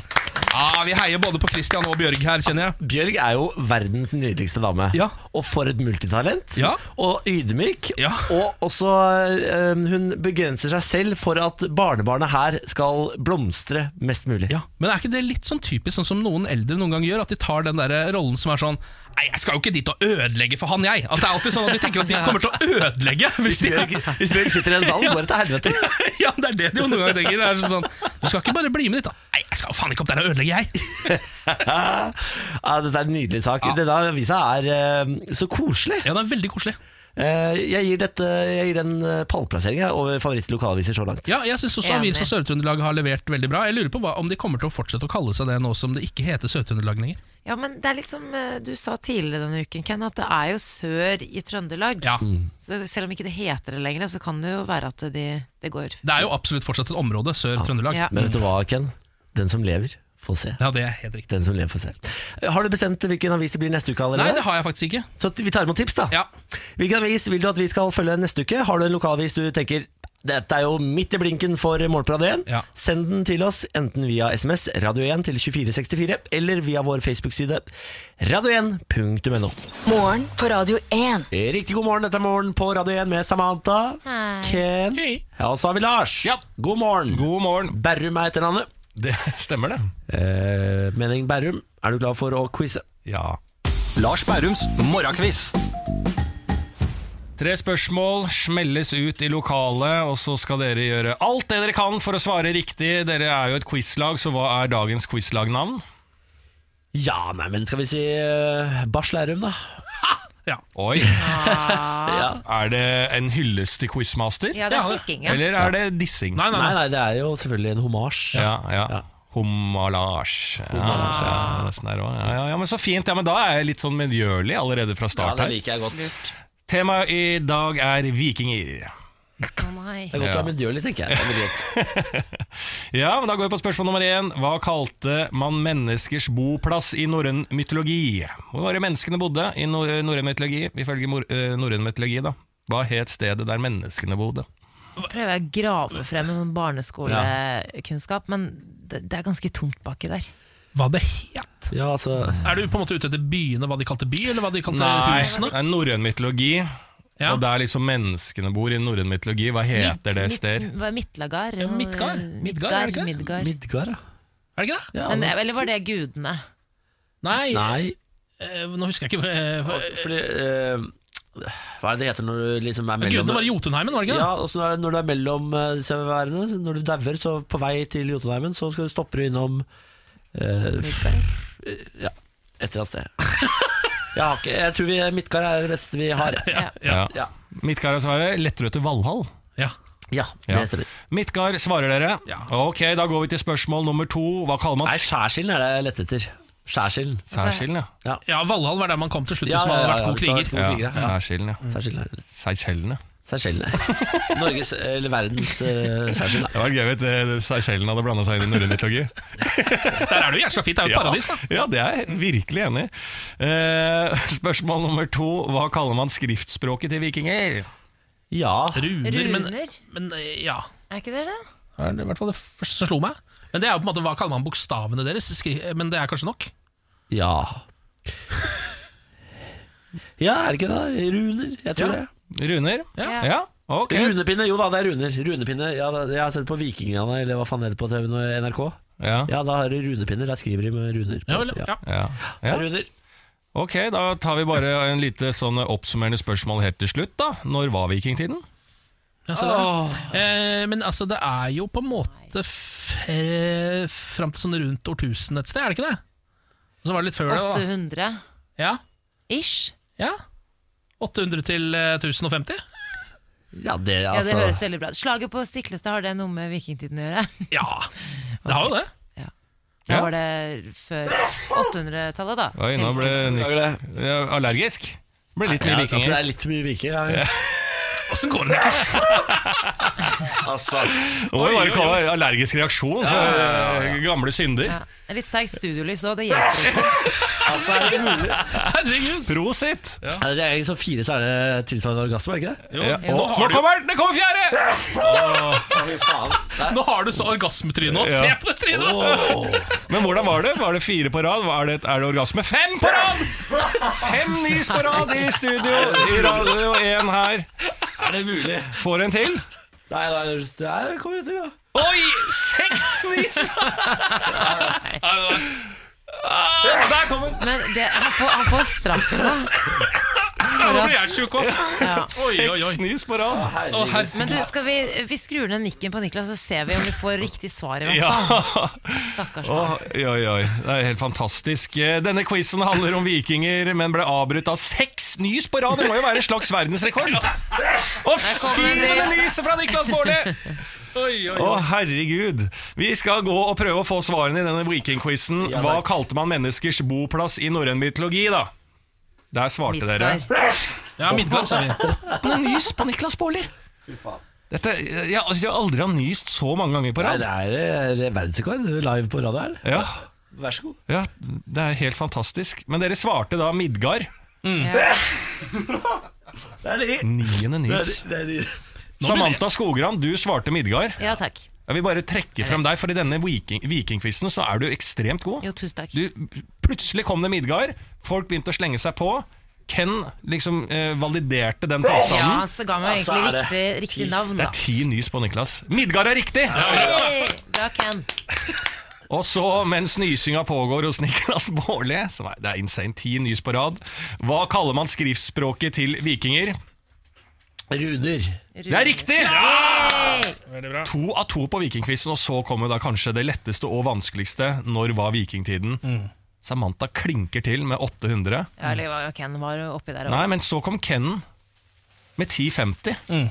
B: Ja, Vi heier både på Christian og Bjørg her, kjenner jeg.
A: Bjørg er jo verdens nydeligste dame.
B: Ja.
A: Og for et multitalent.
B: Ja.
A: Og ydmyk.
B: Ja.
A: Og også eh, Hun begrenser seg selv for at barnebarnet her skal blomstre mest mulig.
B: Ja, Men er ikke det litt sånn typisk sånn som noen eldre noen gang gjør? At de tar den der rollen som er sånn Nei, jeg skal jo ikke dit og ødelegge for han, jeg. At det er alltid sånn at de tenker at de kommer til å ødelegge. Hvis de
A: Bjørg, hvis Bjørg sitter i en sal, går det til helvete.
B: ja, det er det de jo noen ganger tenker. Det er sånn, Du skal ikke bare bli med dit, da. Nei, jeg skal jo faen ikke opp der og ødelegge, jeg.
A: ja, dette er en nydelig sak. Denne avisa er eh, så koselig.
B: Ja, det er veldig koselig.
A: Eh, jeg, gir dette, jeg gir den eh, pallplasseringen jeg, over favorittlokalavisen så langt.
B: Ja, jeg synes også
C: Enig.
B: Avisa Sør-Trøndelag har levert veldig bra. Jeg lurer på hva, om de kommer til å fortsette å kalle seg det nå som det ikke heter Sør-Trøndelag lenger.
C: Ja, men det er litt som eh, du sa tidligere denne uken, Ken, at det er jo sør i Trøndelag.
B: Ja.
H: Mm.
C: Så selv om ikke det heter det lenger, så kan det jo være at det, det går.
B: Det er jo absolutt fortsatt et område, Sør-Trøndelag.
C: Ja.
A: Men vet du hva, Ken? Den som lever, får se.
B: Ja, det er helt riktig.
A: Den som lever, får se. Har du bestemt hvilken avis det blir neste uke allerede?
B: Nei, det har jeg faktisk ikke.
A: Så vi tar imot tips, da.
B: Ja.
A: Hvilken avis vil du at vi skal følge neste uke? Har du en lokalavis du tenker dette er jo midt i blinken for Morgenprat 1?
B: Ja.
A: Send den til oss enten via SMS Radio 1 til 2464 eller via vår Facebook-side radio1.no.
D: Morgen på Radio 1.
A: Riktig god morgen, dette er Morgen på Radio 1 med Samantha,
C: Hei.
A: Ken
B: Hei.
A: Ja, Og så har vi Lars.
B: Ja.
A: God morgen.
H: God morgen.
A: Berrum er etternavnet.
H: Det stemmer, det.
A: Eh, Mening Berrum, er du klar for å quize?
H: Ja. Lars Bærums morgenkviss. Tre spørsmål smelles ut i lokalet, og så skal dere gjøre alt det dere kan for å svare riktig. Dere er jo et quizlag, så hva er dagens quizlagnavn?
A: Ja, nei, men skal vi si uh, Bars Lærum, da?
B: Ja.
H: Oi,
A: Ja.
H: er det en hyllest til quizmaster?
C: Ja, det er
B: Ja, det-
C: spisking, ja.
H: Eller er det dissing?
B: Nei, nei,
A: Nei,
B: nei.
A: nei, det er jo selvfølgelig en homasj.
H: Ja, ja. Homalage. Ja, ja, nesten der også. ja, ja, ja, men så fint. Ja, men da er jeg litt sånn medgjørlig allerede fra
A: Ja,
H: start
A: det
H: her.
A: liker jeg godt.
H: Temaet i dag er vikinger.
C: Å nei.
A: Det er godt å ha medgjørlig, tenker jeg. Det er veldig godt.
H: Ja, men Da går vi på spørsmål nummer én. Hva kalte man menneskers boplass i norrøn mytologi? Hvor var det menneskene bodde i nor- norrøn mytologi, ifølge mor- eh, norrøn mytologi? da? Hva het stedet der menneskene bodde?
C: Nå prøver jeg å grave frem en sånn barneskolekunnskap, men det, det er ganske tomt baki der.
B: Hva det het?
A: Ja, altså
B: Er du på en måte ute etter byene, hva de kalte by, eller hva de kalte husene?
H: det er norrøn mytologi.
B: Ja.
H: Og der liksom menneskene bor i norrøn mytologi. Hva heter det
C: Midt-
H: sted?
C: midt- hva er Midtlagar?
B: Ja, Midtgard. Midtgard, er det ikke det?
C: Midgard.
A: Midgard, ja.
B: Er det ikke det?
A: ja.
C: Men,
A: Men,
C: eller var det gudene?
B: Nei,
A: nei,
B: eh, nå husker jeg ikke. eh, for-
A: fordi eh, Hva er det det heter når du liksom er mellom
B: Gudene var i Jotunheimen, var det ikke det?
A: Ja, og så når, når du er mellom eh, disse værene, når du dauer, så på vei til Jotunheimen, så skal du stoppe du innom eh, et eller annet sted. Jeg, har ikke, jeg tror vi Midtgard er det beste vi har.
C: Ja.
H: Ja.
A: Ja,
H: Midtgard svarer Letterød til Valhall.
B: Ja.
A: ja
H: Ja.
A: det stemmer.
H: Midtgard svarer dere.
B: Ja.
H: Ok, da går vi til spørsmål nummer to. Hva kaller man
A: Nei, Skjærsilden er det jeg lette etter. Skjærsilden.
H: Særskilden, ja.
B: ja, Valhall var der man kom til slutt,
A: Ja,
B: hvis man hadde
A: ja,
B: vært
A: ja,
B: god
A: hvis det hadde
B: kriger.
A: vært god kriger,
H: ja.
A: ja.
H: Særskilden, ja.
A: Skjærsilden er det.
H: Seychellene.
A: Seychellene. Norges, eller verdens uh, Seychellene.
H: Det var gøy hvis eh, Seychellen hadde blanda seg inn i norrøn mytologi.
B: Der er det jo jævla fint, det er jo et paradis, da.
H: ja, det er jeg virkelig enig i. Eh, spørsmål nummer to. Hva kaller man skriftspråket til vikinger?
A: Ja.
B: Runer,
C: Runer?
B: Men, men eh, ja.
C: Er ikke det det?
B: Det er i hvert fall det første som slo meg. Men det er jo på en måte, Hva kaller man bokstavene deres? Skri men det er kanskje nok?
A: Ja. Ja, er det ikke det? Runer, jeg tror
B: Ja.
A: det.
H: Runer?
C: Ja.
H: ja. Ok.
A: Runepinne, jo da, det er runer. Runepinne, ja, da, Jeg har sett på Vikingene, eller hva faen det heter på TV nå, NRK.
H: Ja.
A: Ja, da har de runepinner. Der skriver de med runer.
B: Ja, vel, ja.
H: Ja.
A: Ja.
H: Ja.
A: Runer.
H: Ok, da tar vi bare en lite sånn oppsummerende spørsmål helt til slutt. da Når var vikingtiden?
B: Ja, se der, ja. Eh, men altså, det er jo på en måte f- fram til sånn rundt årtusen et sted, er det ikke det? Og så var det litt før det, da.
C: 800
B: Ja,
C: ish?
B: ja. 800 til eh, 1050?
A: Ja, det,
C: Ja, det
A: altså.
C: høres veldig bra ut. Slaget på Stiklestad, har det noe med vikingtiden å gjøre?
B: Ja, det har jo det.
C: Da
H: Ja.
C: var det før 800-tallet, da.
H: Oi, nå ble Nick ja, allergisk. Ble litt
A: ja,
H: mye
A: altså, det
H: vikinger.
A: er litt mye vikinger. Ja.
B: Åssen går det? Nick?
A: Altså,
H: Nå må vi bare kalle det allergisk reaksjon for eh, gamle synder.
C: Ja. Litt sterkt studiolys òg, det hjelper ikke.
A: altså, er det mulig?
B: Herregud.
H: Prosit!
A: Er det egentlig som fire, så er det tilsvarende orgasme, er det ikke det?
B: Jo,
H: Ja.
B: nå,
H: Å,
B: har
H: nå
B: du,
H: kommer den! Det kommer fjerde!
A: Å, fy faen. Der.
B: nå har du så orgasmetryne nå. Se
H: Ja.
B: på det trynet!
A: Åh.
H: Men hvordan var det? Var det fire på rad? Er det, er det orgasme? Fem på rad! Fem nys på rad i studio i Radio 1 her.
A: Er det mulig?
H: Får en til.
A: Nei, nei, der kommer det til, da.
H: Oi! Seks nys! Ah, Der kom den!
C: Men det, han, får, han får straff da.
B: Nå blir jeg tjukk òg.
C: Ja.
B: Oi, oi, oi.
H: Seks nys på rad.
B: Å, her.
C: Men du, skal vi, vi skrur ned nikken på Niklas, så ser vi om vi får riktig svar. i hvert
H: Ja.
C: fall. Stakkars mann.
H: Oi, oi, oi. Det er helt fantastisk. Eh, Denne quizen handler om vikinger, men ble avbrutt av seks nys på rad. Det må jo være en slags verdensrekord. Og syvende nyset fra Niklas Baarli!
B: Oi, oi,
H: Å,
B: oi.
H: herregud. Vi skal gå og prøve å få svarene i denne vikingquizen.
A: Ja,
H: Hva
A: takk.
H: kalte man menneskers boplass i norrøn mytologi, da? Der svarte dere.
C: Midtgard.
B: Ja, Midgard, sa vi.
H: Åttende nys på Niklas Baarli! Dette, jeg, jeg har aldri har nyst så mange ganger på
A: Nei,
H: rad.
A: det er eh, verdensrekord live på radio her.
H: Ja.
A: Vær så god.
H: Ja, det er helt fantastisk. Men dere svarte da Midgard.
A: Mm. Det er de.
H: Niende
A: Det er
H: nys.
A: de. Det er de.
H: Samantha Skogran, du svarte Midgard.
C: Ja, takk.
H: Jeg vil bare trekke frem deg, for i denne viking vikingquizen så er du ekstremt god.
C: Jo, tusen takk.
H: Du, plutselig kom det Midgard, folk begynte å slenge seg på. Ken liksom eh, validerte den
C: Ja,
H: påstanden.
C: så ga meg
A: Altså,
C: egentlig
A: er
C: riktig,
A: det
C: riktig
A: ti-
C: navn,
H: Det
C: da.
H: er ti nys på Niklas. Midgard er riktig!
C: Hey, bra, Ken.
H: Og så, mens nysinga pågår hos Niklas Baarli, som er, det er insane, ti nys på rad, hva kaller man skriftspråket til vikinger?
A: Runer.
H: Det er riktig! To av to på vikingquizen, og så kommer da kanskje det letteste og vanskeligste. Når var vikingtiden? Samantha klinker til med 800.
C: Ja, eller var- Ken var jo oppi der
H: Nei,
C: òg.
H: men så kom Kennen med 1050.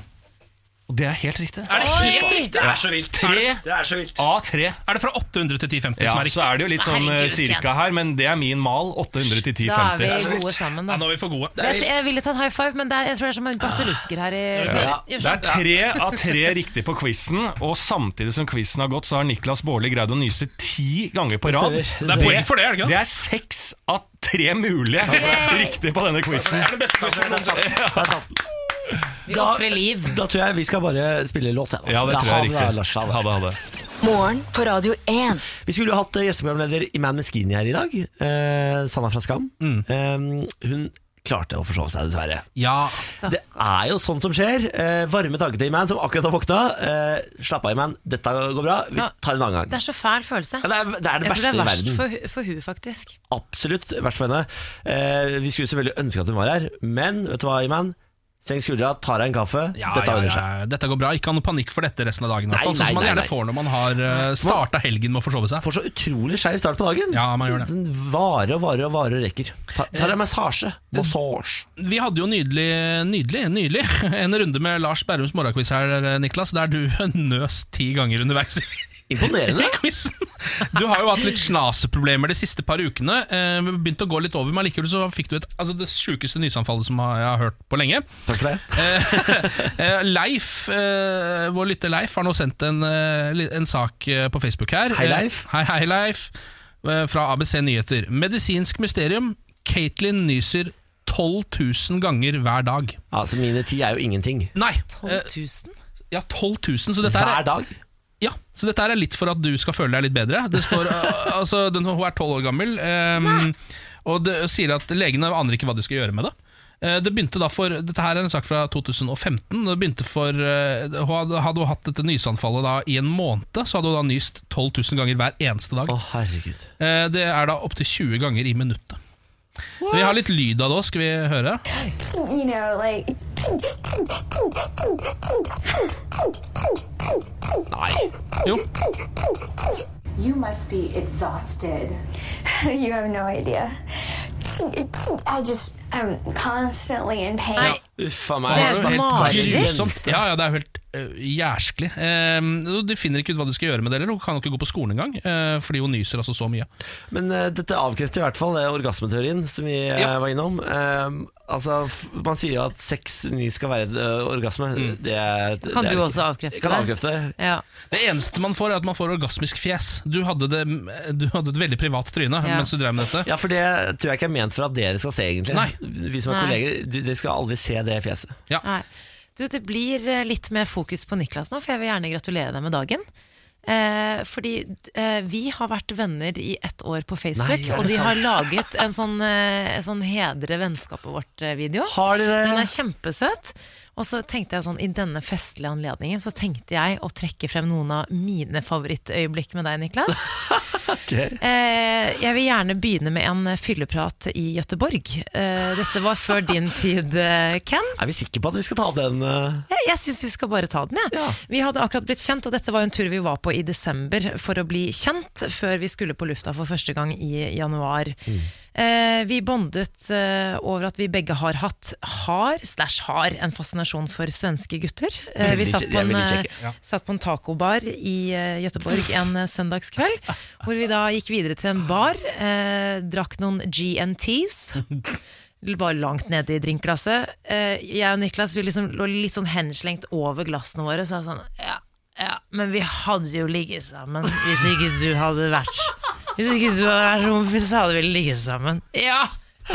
H: Og det er helt riktig.
B: Er det helt riktig?
A: Det er så vilt.
H: Tre.
A: Det er så vilt.
H: A3.
B: Er det fra 800 til 1050
H: Ja,
B: som er
H: så
B: riktig?
H: er det jo litt sånn eh,
C: Herregud,
H: cirka
C: Ken.
H: her, men det er min mal. 800 til
C: Da er
H: 1050.
C: vi gode sammen,
B: Ja,
C: da.
B: nå er vi for gode.
C: Jeg, jeg ville tatt high five, men det er, jeg tror det er som en basillusker her. I,
A: Ja.
C: Gjør
H: Det er
C: sånn.
H: tre av tre riktig på quizen, og samtidig som quizen har gått, så har Niklas Baarli greid å nyse ti ganger på rad.
A: Det stemmer.
B: Det er poeng for det, er det
H: Det
B: ikke?
H: er seks av tre mulige riktige på denne quizen.
B: Det er det beste quizen jeg noensinne
A: Der satt den.
C: Vi ofrer liv.
A: Da tror jeg vi skal bare spille låt. jeg, da.
H: Ja, det
A: Da
H: tror jeg
A: har vi det,
H: er
A: Lars,
H: riktig.
A: da.
H: Ha det, ha det.
D: Morgen på Radio 1.
A: Vi skulle jo hatt eh, gjesteprogramleder Iman Meskini her i dag. Eh, Sanna fra Skam.
H: Mm.
A: Eh, hun klarte å forsove seg, dessverre.
B: Ja,
A: Det er jo sånn som skjer. Eh, varme tanker til Iman, som akkurat har våkna. Eh, slapp av, Iman. Dette går bra. Vi
C: Ja.
A: tar en annen
C: Det
A: gang.
C: er så fæl følelse.
A: Ja, Det er det, er det
C: Jeg tror det
A: verste
C: er
A: i
C: verst
A: verden.
C: for, hu- for hun faktisk.
A: Absolutt verst for henne. Eh, vi skulle selvfølgelig ønske at hun var her, men vet du hva, Iman? Senk skuldra, tar deg en kaffe.
B: ja,
A: Dette
B: ja,
A: ordner
B: ja,
A: seg.
B: dette går bra. Ikke ha noe panikk for dette resten av dagen. i
A: Nei,
B: hvert fall, Sånn
A: nei,
B: som man
A: nei,
B: gjerne
A: nei.
B: får når man har starta helgen med å forsove seg.
A: Får så utrolig skeiv start på dagen.
B: Ja, man gjør det.
A: Den varer og varer og varer og rekker. Ta, ta deg massasje.
B: Eh,
A: Massasje.
B: Vi hadde jo nydelig, nydelig, nydelig en runde med Lars Berrums morgenquiz her, eh, Niklas, der du nøs ti ganger underveis i
A: Imponerende.
B: quizen. Du har jo hatt litt snaseproblemer de siste par ukene. eh, Begynt å gå litt over, men likevel så fikk du et, altså det sjukeste nysanfallet som jeg har hørt på lenge.
A: Takk for det.
B: Eh, Leif, eh, vår lytter Leif, har nå sendt en, eh, li- en sak eh, på Facebook her.
A: Hei, Leif.
B: Eh, Hei, hei, Leif. eh, Fra ABC Nyheter. Medisinsk mysterium. Caitlyn nyser 12 000 ganger hver dag.
A: Altså, mine ti er jo ingenting.
B: Nei,
C: 12
B: eh,
C: 000?
B: ja, 12 000, så dette
A: Hver
B: er,
A: dag.
B: ja, så dette her er litt for at du skal føle deg litt bedre. Det står, eh, altså, den, hun er 12 år gammel, eh, og det sier at legene aner ikke hva de skal gjøre med det. Eh, Det begynte da for, Dette her er en sak fra 2015. Det begynte for, eh, Hun hadde, hadde hun hatt dette nysanfallet da i en måned, så hadde hun da nyst 12 000 ganger hver eneste dag.
A: Å, herregud.
B: Eh, Det er da opptil 20 ganger i minuttet. Vi har litt lyd av det òg, skal vi høre?
I: you know, like
A: Nei.
B: Jo.
J: You must be exhausted.
I: you have no idea. I just I'm constantly in pain.
C: Nei,
A: Uff a
B: Det
A: meg.
B: er jo helt
C: Mareritt.
B: grusomt. Ja, ja, det er jo helt øh, jæsklig. Ehm, og de finner ikke ut hva de skal gjøre med det heller. Hun kan jo ikke gå på skolen engang, øh, fordi hun nyser altså så mye.
A: Men eh, dette avkrefter i hvert fall det orgasmeteorien som vi eh,
B: Ja.
A: var innom. Eh, altså, f- man sier jo at sex ny skal være eh, orgasme.
B: Mm.
A: Det, er- det
C: Kan
A: er
C: du
A: ikke-
C: også avkrefte
A: Kan
C: det?
A: avkrefte det.
C: Ja.
B: Det eneste man får, er at man får orgasmisk fjes. Du hadde, det, eh, du hadde et veldig privat tryne
C: Ja.
B: mens du drev med dette.
A: Ja, for det tror jeg ikke er ment for at dere skal se, egentlig.
B: Nei.
A: Vi som er
C: Nei.
A: kolleger, de- dere skal aldri se det fjeset.
C: Nei. Du, det blir eh, litt mer fokus på Niklas nå, for jeg vil gjerne gratulere deg med dagen. Eh, fordi eh, vi har vært venner i ett år på
A: Nei,
C: Facebook,
A: er det
C: og de
A: sant?
C: har laget en sånn, eh, en sånn hedre vennskapet vårt-video.
A: Har
C: Den
A: dere
C: er kjempesøt. Og så tenkte jeg sånn, I denne festlige anledningen så tenkte jeg å trekke frem noen av mine favorittøyeblikk med deg, Niklas.
A: Ok.
C: Eh, jeg vil gjerne begynne med en eh, fylleprat i Gøteborg. Eh, dette var før din tid, eh, Ken.
A: Er vi sikre på at vi skal ta den? eh?
C: Jeg, jeg syns vi skal bare ta den, jeg.
A: Ja.
C: Vi hadde akkurat blitt kjent, og dette var jo en tur vi var på i desember for å bli kjent, før vi skulle på lufta for første gang i januar.
A: Mm.
C: Eh, vi bondet eh, over at vi begge har hatt, har, slash har, en fascinasjon for svenske gutter. Eh, vi
A: Veldig
C: satt
A: kje-
C: på,
A: de er
C: en,
A: veldig
C: eh,
A: kjekke, ja.
C: satt på en tacobar i eh, Gøteborg en eh, søndagskveld, hvor vi da gikk videre til en bar, eh, drakk noen G&Ts var langt nede i drinkglasset. Eh, jeg og Niklas vi liksom lå litt sånn henslengt over glassene våre. Så jeg sånn, ja, ja, men vi hadde jo ligget sammen hvis ikke du hadde vært Hvis ikke du hadde vært homofil, så hadde vi ligget sammen. Ja!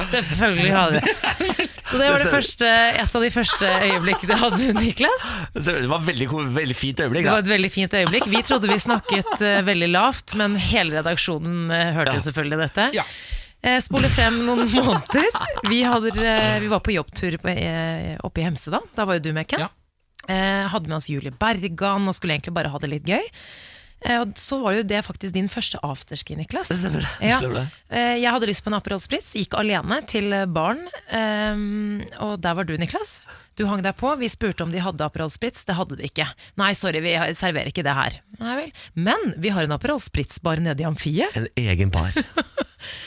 C: Selvfølgelig hadde vi Så det var det første, et av de første øyeblikkene jeg hadde, Niklas.
A: Det var et veldig, ko- veldig fint øyeblikk.
C: Det
A: Da.
C: var et veldig fint øyeblikk. Vi trodde vi snakket eh, veldig lavt, men hele redaksjonen eh, hørte jo selvfølgelig dette. Eh, spole frem noen måneder. Vi, hadde, eh, vi var på jobbtur på, eh, oppe i Hemsedal. Da var jo du med, Ken. Eh, hadde med oss Julie Bergan og skulle egentlig bare ha det litt gøy. Eh, og så var jo det faktisk din første afterski, Niklas.
A: Det stemmer det, det
C: Ja.
A: stemmer det.
C: Eh, jeg hadde lyst på en Aperol Spritz, gikk alene til baren. ehm, og der var du, Niklas. Du hang deg på. Vi spurte om de hadde Aperol Spritz. Det hadde de ikke. Nei, sorry, vi har- serverer ikke det her. Nei vel. Men vi har en Aperol Spritz-bar nede i amfiet.
A: En egen bar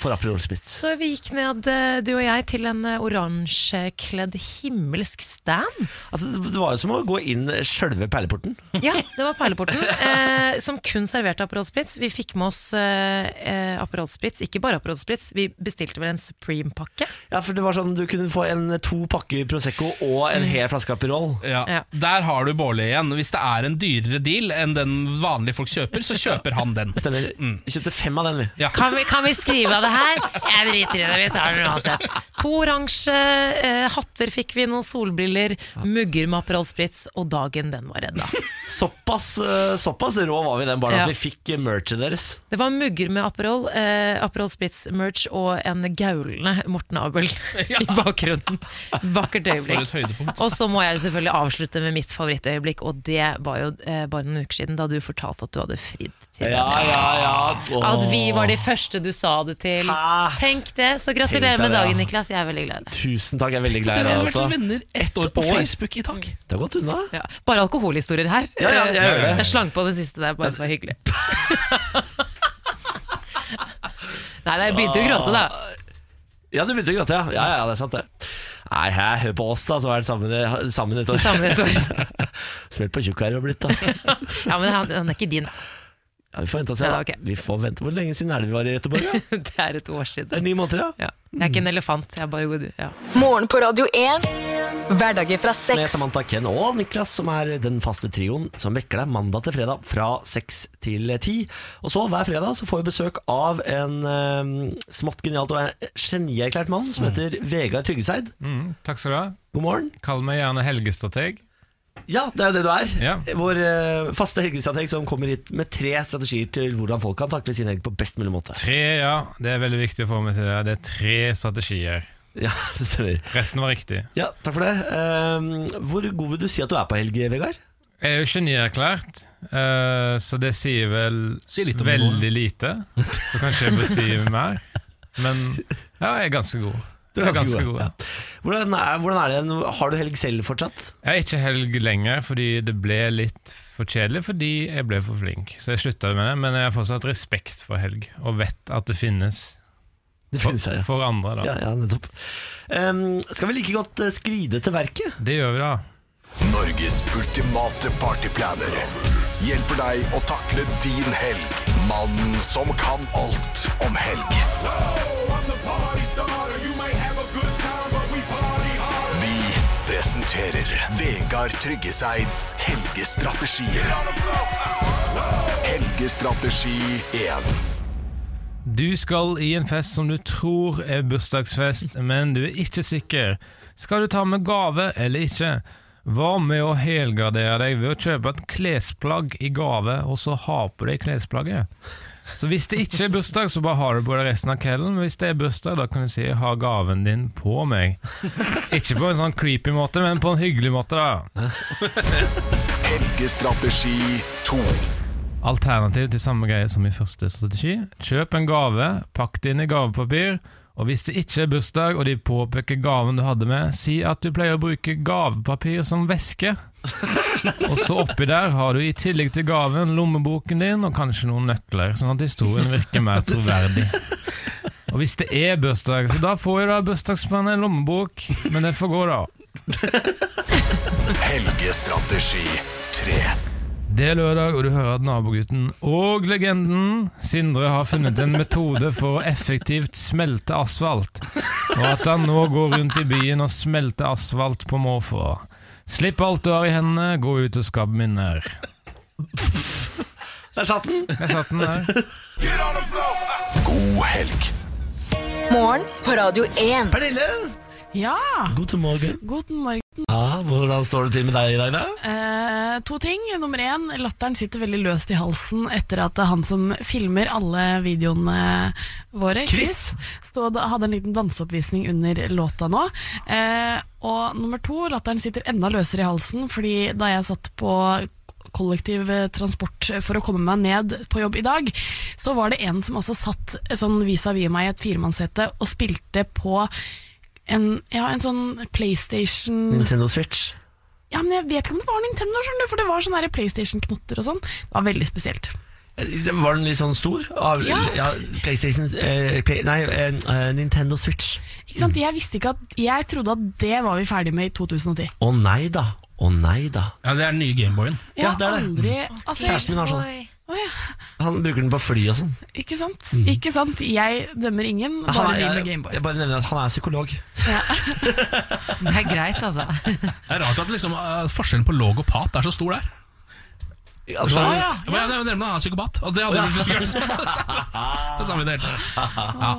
A: for Aperol Spritz.
C: Så vi gikk ned, eh, du og jeg, til en eh, oransjekledd himmelsk stand.
A: Altså, det det var jo som å gå inn sjølve perleporten.
C: Ja, det var Perleporten, eh, som kun serverte Aperol Spritz. Vi fikk med oss eh, eh, Aperol Spritz, ikke bare Aperol Spritz, vi bestilte vel en Supreme-pakke.
A: Ja, for det var sånn Du kunne få en to pakker Prosecco og
C: Mm.
A: en hel flaske Aperol.
B: Ja. Der har du Bårli igjen. Hvis det er en dyrere deal enn den vanlige folk kjøper, så kjøper han den.
A: Stemmer.
B: Mm.
A: Vi kjøpte fem av den, vi.
B: Ja.
C: Kan vi, kan vi skrive av det her? Jeg driter i det, vi tar den uansett. To oransje eh, hatter fikk vi, noen solbriller, mugger med Aperol Spritz, og dagen den var redda.
A: Såpass, eh, såpass rå var vi i den baren
C: Ja.
A: at vi fikk eh, merchet deres.
C: Det var mugger med Aperol, eh, Aperol Spritz-merch og en gaulende Morten Abel i bakgrunnen. Vakkert øyeblikk.
B: For et høydepunkt.
C: Og så må jeg jo selvfølgelig avslutte med mitt favorittøyeblikk, og det var jo eh, bare noen uker siden da du fortalte at du hadde fridd til
A: Ja, ja, ja. Åh.
C: At vi var de første du sa det til. Tenk det. Så
A: Tenk deg
C: gratulerer med
A: det, ja.
C: dagen, Niklas. Jeg er veldig glad i deg.
A: Tusen takk, jeg er veldig glad i
B: Dere
A: deg.
B: har vært
A: Altså.
B: venner ett år på Facebook i dag.
A: Det har gått unna.
C: Ja. Bare alkoholhistorier her.
A: Ja, ja, jeg gjør det.
C: Så jeg slang på den siste der, bare for hyggelig. Nei, nei, jeg begynte jo å gråte,
A: Ah.
C: da.
A: Ja, du begynte å gråte, ja. Ja, ja, det er sant, det. Nei, hæ, hør på oss, da, så er det sammen, i- sammen et år.
C: Sammen et år.
A: Smelt på tjukk her og blitt, da.
C: Ja, Men han, han er ikke din.
A: Ja, vi får vente og se. da.
C: Ja, ok.
A: Vi får vente. Hvor lenge siden er det vi var i Göteborg? da?
C: Det er et år siden.
A: Det er ni måneder, ja.
C: Jeg er ikke en elefant. Jeg er bare god. Ja.
D: Morgen på Radio 1. Hverdager fra
A: Med
D: seks.
A: Samantha Ken og Niklas, som er den faste trioen som vekker deg mandag til fredag fra seks til ti. Og så hver fredag så får vi besøk av en um, smått genialt og en genierklært mann som heter Vegard Tryggeseid.
K: Mm, takk skal du ha.
A: God morgen.
K: Kall meg gjerne helgestrateg.
A: Ja, det er jo det du er.
K: Ja.
A: Vår eh, faste helgestrateg som kommer hit med tre strategier til hvordan folk kan takle sin helg på best mulig måte.
K: Tre, ja. Det er veldig viktig å få med til det. Det er tre strategier.
A: Ja, det stemmer.
K: Resten var riktig.
A: Ja, takk for det. Um, hvor god vil du si at du er på helg, Vegard?
K: Jeg er jo genierklært, eh, så det sier vel
B: litt om
K: veldig lite. Så kanskje jeg bør si mer. Men ja, jeg er ganske god.
A: Du er
K: Jeg
A: ganske god, ja. Hvordan er, hvordan er det, nå? har du helg selv fortsatt?
K: Jeg er ikke helg lenger fordi det ble litt for kjedelig fordi jeg ble for flink. Så jeg slutta med det, men jeg har fortsatt respekt for helg og vet at det finnes.
A: Det finnes her, ja.
K: For, for andre, da.
A: Ja, ja nettopp. Um, skal vi like godt eh, skride til verket?
K: Det gjør vi, da.
G: Norges ultimate partyplaner hjelper deg å takle din helg. Mannen som kan alt om helg. Vi presenterer Vegard Tryggeseids helgestrategier. Helgestrategi 1.
K: Du skal i en fest som du tror er bursdagsfest, men du er ikke sikker. Skal du ta med gave eller ikke? Hva med å helgardere deg ved å kjøpe et klesplagg i gave, og så ha på deg klesplagget? Så hvis det ikke er bursdag, så bare har du på deg resten av kvelden. Men hvis det er bursdag, da kan du si 'ha gaven din på meg'. Ikke på en sånn creepy måte, men på en hyggelig måte, da.
G: Helgestrategi 2.
K: Alternativ til samme greie som i første strategi. Kjøp en gave, pakk det inn i gavepapir, og hvis det ikke er bursdag og de påpeker gaven du hadde med, si at du pleier å bruke gavepapir som væske. Og så oppi der har du i tillegg til gaven lommeboken din og kanskje noen nøkler, sånn at historien virker mer troverdig. Og hvis det er bursdag, så da får jo da bursdagsmannen en lommebok, men det får gå, da.
G: Helgestrategi 3.
K: Det er lørdag, og du hører at nabogutten og legenden Sindre har funnet en metode for å effektivt smelte asfalt, og at han nå går rundt i byen og smelter asfalt på måfå. Slipp alt du har i hendene, gå ut og skap minner.
A: Der satt den!
K: Der satt den der.
G: God helg.
D: Morgen på Radio 1.
A: Pernille!
L: Ja!
A: God morgen.
L: God morgen.
A: Ja, hvordan står det til med deg i dag, da?
L: Eh, to ting. Nummer én, latteren sitter veldig løst i halsen etter at han som filmer alle videoene våre, Chris, stod, hadde en liten danseoppvisning under låta nå. Eh, og nummer to, latteren sitter enda løsere i halsen fordi da jeg satt på kollektiv eh, transport for å komme meg ned på jobb i dag, så var det en som altså satt sånn vis-à-vis meg i et firemannssete og spilte på en, ja, en sånn PlayStation
A: Nintendo Switch.
L: ja, men jeg vet ikke om det var Nintendo, skjønner du, for det var sånne der PlayStation-knotter og sånn. Det var veldig spesielt.
A: Var den litt sånn stor? Av, ja.
L: Ja.
A: PlayStation eh, Play, Nei, eh, eh, Nintendo Switch.
L: Ikke
A: Mm.
L: sant? Jeg visste ikke at Jeg trodde at det var vi ferdig med i 2010.
A: Å nei da. Å nei da.
B: Ja, Det er den nye Gameboyen.
L: Jeg har Aldri, altså,
A: Kjæresten min har sånn.
L: Å ja,
A: Han bruker den på fly og sånn.
L: ikke sant?
A: Mm.
L: Ikke sant? Jeg dømmer ingen,
A: Han
L: bare
A: er-
L: de med
A: jeg,
L: Gameboy.
A: jeg bare nevner at han er psykolog.
C: Det er greit, altså.
B: Det er rart at liksom, eh, forskjellen på log og pat er så stor der.
A: Ja,
B: altså,
A: ja, Ah,
B: ja,
A: ja.
B: men jeg nevner han er psykopat, og det hadde
A: Ja.
B: vi ikke gjort. Det samme i det hele tatt. Ja.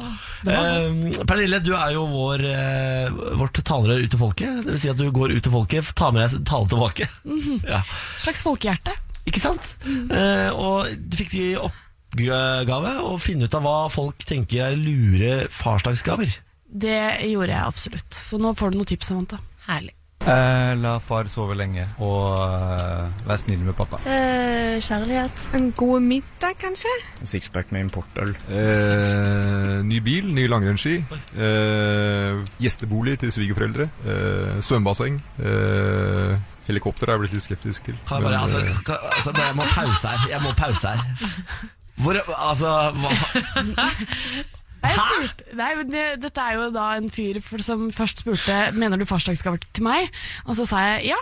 A: Eh, Pernille, du er jo vår, eh, vårt talerør ut til folket. Det vil si at du går ut til folket, tar med deg tale tilbake.
L: Mhm.
A: Ja.
L: Slags folkehjerte.
A: Ikke sant? Eh, og du fikk de i oppgave å finne ut av hva folk tenker er lure farsdagsgaver.
L: Det gjorde jeg absolutt. Så nå får du noen tips, Samantha. Herlig.
M: Eh, la far sove lenge, og eh, vær snill med pappa.
N: kjærlighet. En god middag, kanskje?
M: Sixpack med importøl. Eh, ny bil, nye langrennsski. Eh, gjestebolig til svigerforeldre. Eh, svømmebasseng. Eh, helikopter er jeg blitt litt skeptisk til.
A: Kan jeg bare,
M: men,
A: altså,
M: eh,
A: kan, altså, bare, jeg må pause her. Jeg må pause her. Hvor, altså, hva?
L: Nei, jeg spurte, nei, men det, dette er jo da en fyr for, som først spurte Mener du farsdagsgave til meg. Og så sa jeg ja.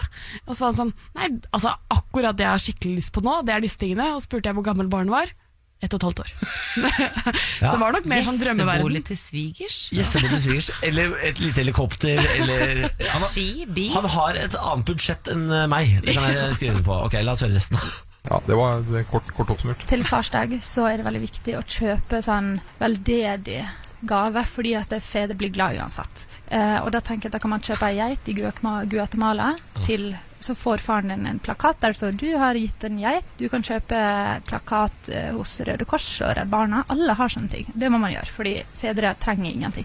L: Og så var han sånn Nei, altså akkurat det jeg har skikkelig lyst på nå, det er disse tingene. Og så spurte jeg hvor gammel barnet var. Ett og et halvt år. Så det var nok mer sånn drømmeverden.
C: Gjestebolig til svigers.
A: Gjestebord til svigers, eller et lite helikopter, eller han, har- han har et annet budsjett enn eh, meg. Det kan jeg skrive under på. Ok, la oss høre resten.
M: ja, det var det er kort, kort oppsummert.
O: Til farsdag så er det veldig viktig å kjøpe sånn veldedig gave, fordi at fedre blir glad uansett. Eh, og da tenker jeg at da kan man kjøpe ei geit i Guacma- Guatemala til så får faren din en plakat der det står 'du har gitt en geit'. Du kan kjøpe plakat eh, hos Røde Kors og Redd Barna. Alle har sånne ting. Det må man gjøre, fordi fedre trenger ingenting.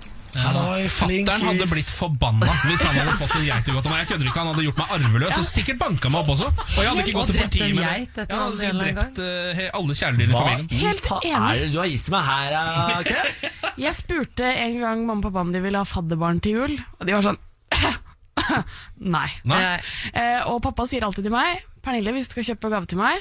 B: Fatteren hadde blitt forbanna hvis han hadde fått en geit i godt. Jeg kødder ikke, han hadde gjort meg arveløs og sikkert banka meg opp også. Og jeg hadde ikke
C: Og
B: gått til
C: drept en
B: politiet med
C: geit
B: det.
C: etter
B: Ja,
C: en
B: han hadde sikkert
C: eller annen
B: drept eh, he- alle kjæledyrene i
A: Hva
B: familien.
A: i faen er det du har gitt meg her, eh, Ken?
L: Jeg spurte en gang mamma og pappa om de ville ha fadderbarn til jul, og de var sånn Nei.
B: Nei.
L: Eh, og pappa sier alltid til meg Pernille, hvis du skal kjøpe gave til meg,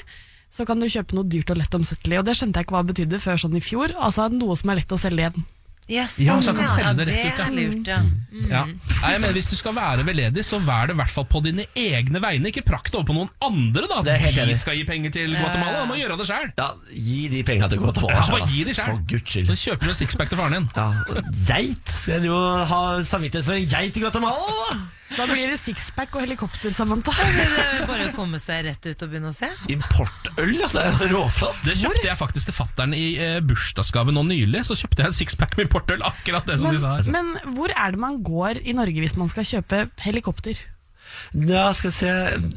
L: så kan du kjøpe noe dyrt og lett omsettelig. Og det skjønte jeg ikke hva det betydde før sånn i fjor. Altså noe som er lett å selge igjen.
C: Ja, sånn
B: Ja, så jeg kan selge det rett ut, ja.
C: er lurt, ja. Mm.
B: Ja. Nei, men Hvis du skal være veldedig, så vær det i hvert fall på dine egne vegne. Ikke prakt det over på noen andre, da.
A: Det er helt
B: de
A: enig.
B: skal gi penger
A: Ja,
B: til
A: ja,
B: Guatemala.
A: ja.
B: Da må gjøre det sjøl.
A: Ja, gi de penga til Guatemala.
B: Ja, bare
A: ass.
B: gi de selv.
A: For guds skyld.
B: Så kjøper du en sixpack til faren din.
A: Ja, Geit? Skal jeg jo ha samvittighet for en geit i Guatemala? da?
L: Så da blir det sixpack og helikopter, Samantha.
C: Det er jo Bare å komme seg rett ut og begynne å se.
A: Importøl, ja. Det er råflott.
B: Det kjøpte jeg faktisk til fattern i eh, bursdagsgave nå nylig. Så kjøpte jeg en sixpack med importøl. Akkurat det som
L: Men,
B: de
A: altså.
B: sa her.
L: men hvor er det man går i Norge hvis man skal kjøpe helikopter?
A: Ja, skal vi se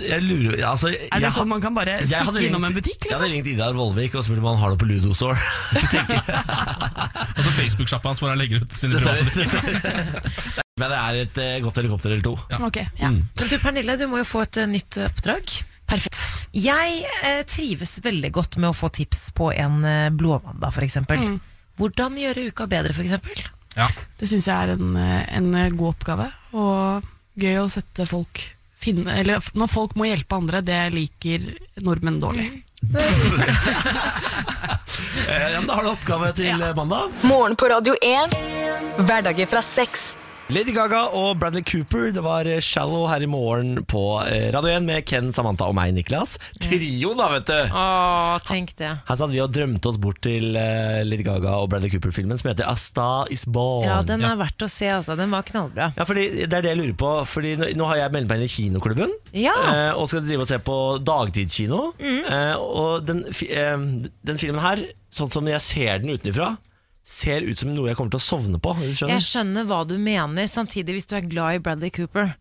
A: Jeg lurer altså, jeg,
L: Er det sånn man kan bare
A: jeg hadde
L: stikke
A: ringt-
L: innom en butikk? liksom?
A: Jeg hadde ringt Idar Vollvik og spurt om han har noe på Ludo Store.
B: Og så Facebook-sjappa hans hvor han legger ut sine private
A: Men det er et eh, godt helikopter eller to.
L: liksom? Ok,
A: ja. Mm.
C: Men du Pernille, du må jo få et eh, nytt eh, oppdrag.
L: Perfekt.
C: Jeg eh, trives veldig godt med å få tips på en eh, blåmandag, f.eks.
L: Mm.
C: Hvordan gjøre uka bedre, f.eks.?
L: Det syns jeg er en, en god oppgave. Og gøy å sette folk finne, eller Når folk må hjelpe andre, det liker nordmenn dårlig.
A: Eh, ja, men da har du oppgave til eh, mandag.
D: Morgen på Radio 1. Hverdager fra seks.
A: Lady Gaga og Bradley Cooper, det var eh, 'Shallow' her i morgen på eh, Radio 1 med Ken, Samantha og meg, Niklas. Trio, da, vet du.
C: Å, tenk det.
A: Her satt vi og drømte oss bort til eh, Lady Gaga og Bradley Cooper-filmen som heter 'A Star Is Born'.
C: Ja, den er verdt å se, altså. Den var knallbra.
A: Ja, fordi Det er det jeg lurer på. Fordi Nå, nå har jeg meldt meg inn i kinoklubben.
C: Ja.
A: eh, og skal drive og se på dagtidskino.
C: Mm.
A: Eh, og den, fi- eh, den filmen her, sånn som jeg ser den utenfra, ser ut som noe jeg kommer til å sovne på. hvis du Skjønner?
C: Jeg skjønner hva du mener, samtidig hvis du er glad i Bradley Cooper.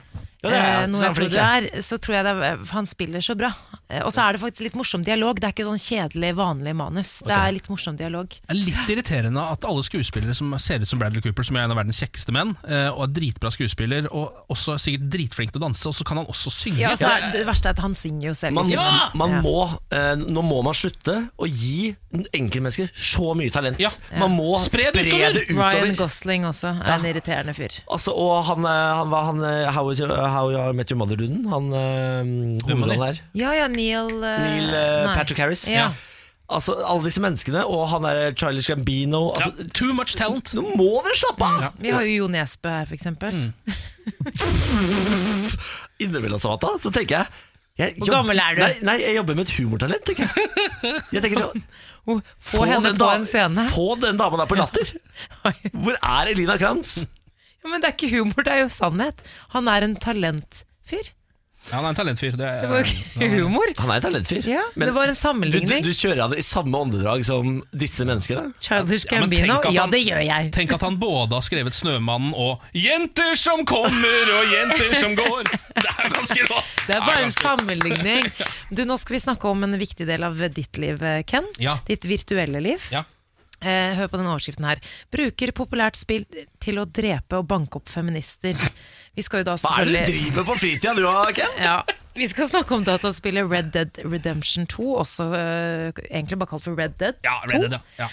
A: Ja, det er jeg.
C: eh,
A: Så er
C: noe
A: han
C: jeg tror du er,
A: flink,
C: så tror jeg det er, han spiller så bra. Eh, Og så er det faktisk litt morsom dialog. Det er ikke sånn kjedelig, vanlig manus. Det
B: Ok.
C: er litt morsom dialog.
B: Det er litt irriterende at alle skuespillere som ser ut som Bradley Cooper, som er en av verdens kjekkeste menn, eh, og er dritbra skuespiller, og også sikkert dritflink til å danse, og så kan han også synge.
C: Ja, og så er, det verste er at han synger jo selv. i
A: Man,
C: filmen.
A: man
C: Ja.
A: må, eh, nå må man slutte å gi enkeltmennesker så mye talent. Man må spre det utover.
C: Ryan Gosling også er en irriterende fyr.
A: Altså, og han, eh, han var han eh, How, is your, how you Are Met Your Mother-duden. Han eh, hovedrollen her.
C: Ja, ja, Neil, eh,
A: Neil eh,
C: nei.
A: Patrick Harris.
C: Ja.
A: Altså, alle disse menneskene, og han der Charlies Gambino altså,
B: Too much talent!
A: Nå må dere slappe av!
C: Vi har jo Jo Nesbø her, for eksempel.
A: Mm. Innimellom, Samantha, så tenker jeg, jeg
C: Hvor gammel er du?
A: Nei, nei, jeg jobber med et humortalent, tenker jeg. Jeg tenker sånn
C: Få, henne
A: den
C: på
A: da-
C: en scene.
A: Få den damen der på latter! Hvor er Elina Kranz?
C: Ja, men det er ikke humor, det er jo sannhet. Han er en talentfyr.
B: Ja, han er en talentfyr. Det,
C: Det var jo ikke humor.
A: Han er en talentfyr.
C: Ja, det var en sammenligning.
A: Du, du, du kjører han i samme åndedrag som disse menneskene?
C: Childish
B: Ja, men tenk
C: Gambino,
B: at
C: ja,
B: han-
C: det gjør jeg.
B: Tenk at han både har skrevet 'Snømannen' og 'Jenter som kommer og jenter som går'. Det er jo ganske rått!
C: Det er bare en
B: ganske-
C: sammenligning. Du, nå skal vi snakke om en viktig del av ditt liv, eh, Ken.
B: Ja.
C: Ditt virtuelle liv.
B: Ja.
C: Eh, hør på den overskriften her. Bruker populært spill til å drepe og banke opp feminister. Vi skal jo da
A: Hva er det du
C: selvfølgelig
A: driver på fritida du da, Ken?
C: ja, vi skal snakke om dataspillet Red Dead Redemption 2, også eh, egentlig bare kalt for Red Dead 2.
B: Ja, Red Dead, ja. ja.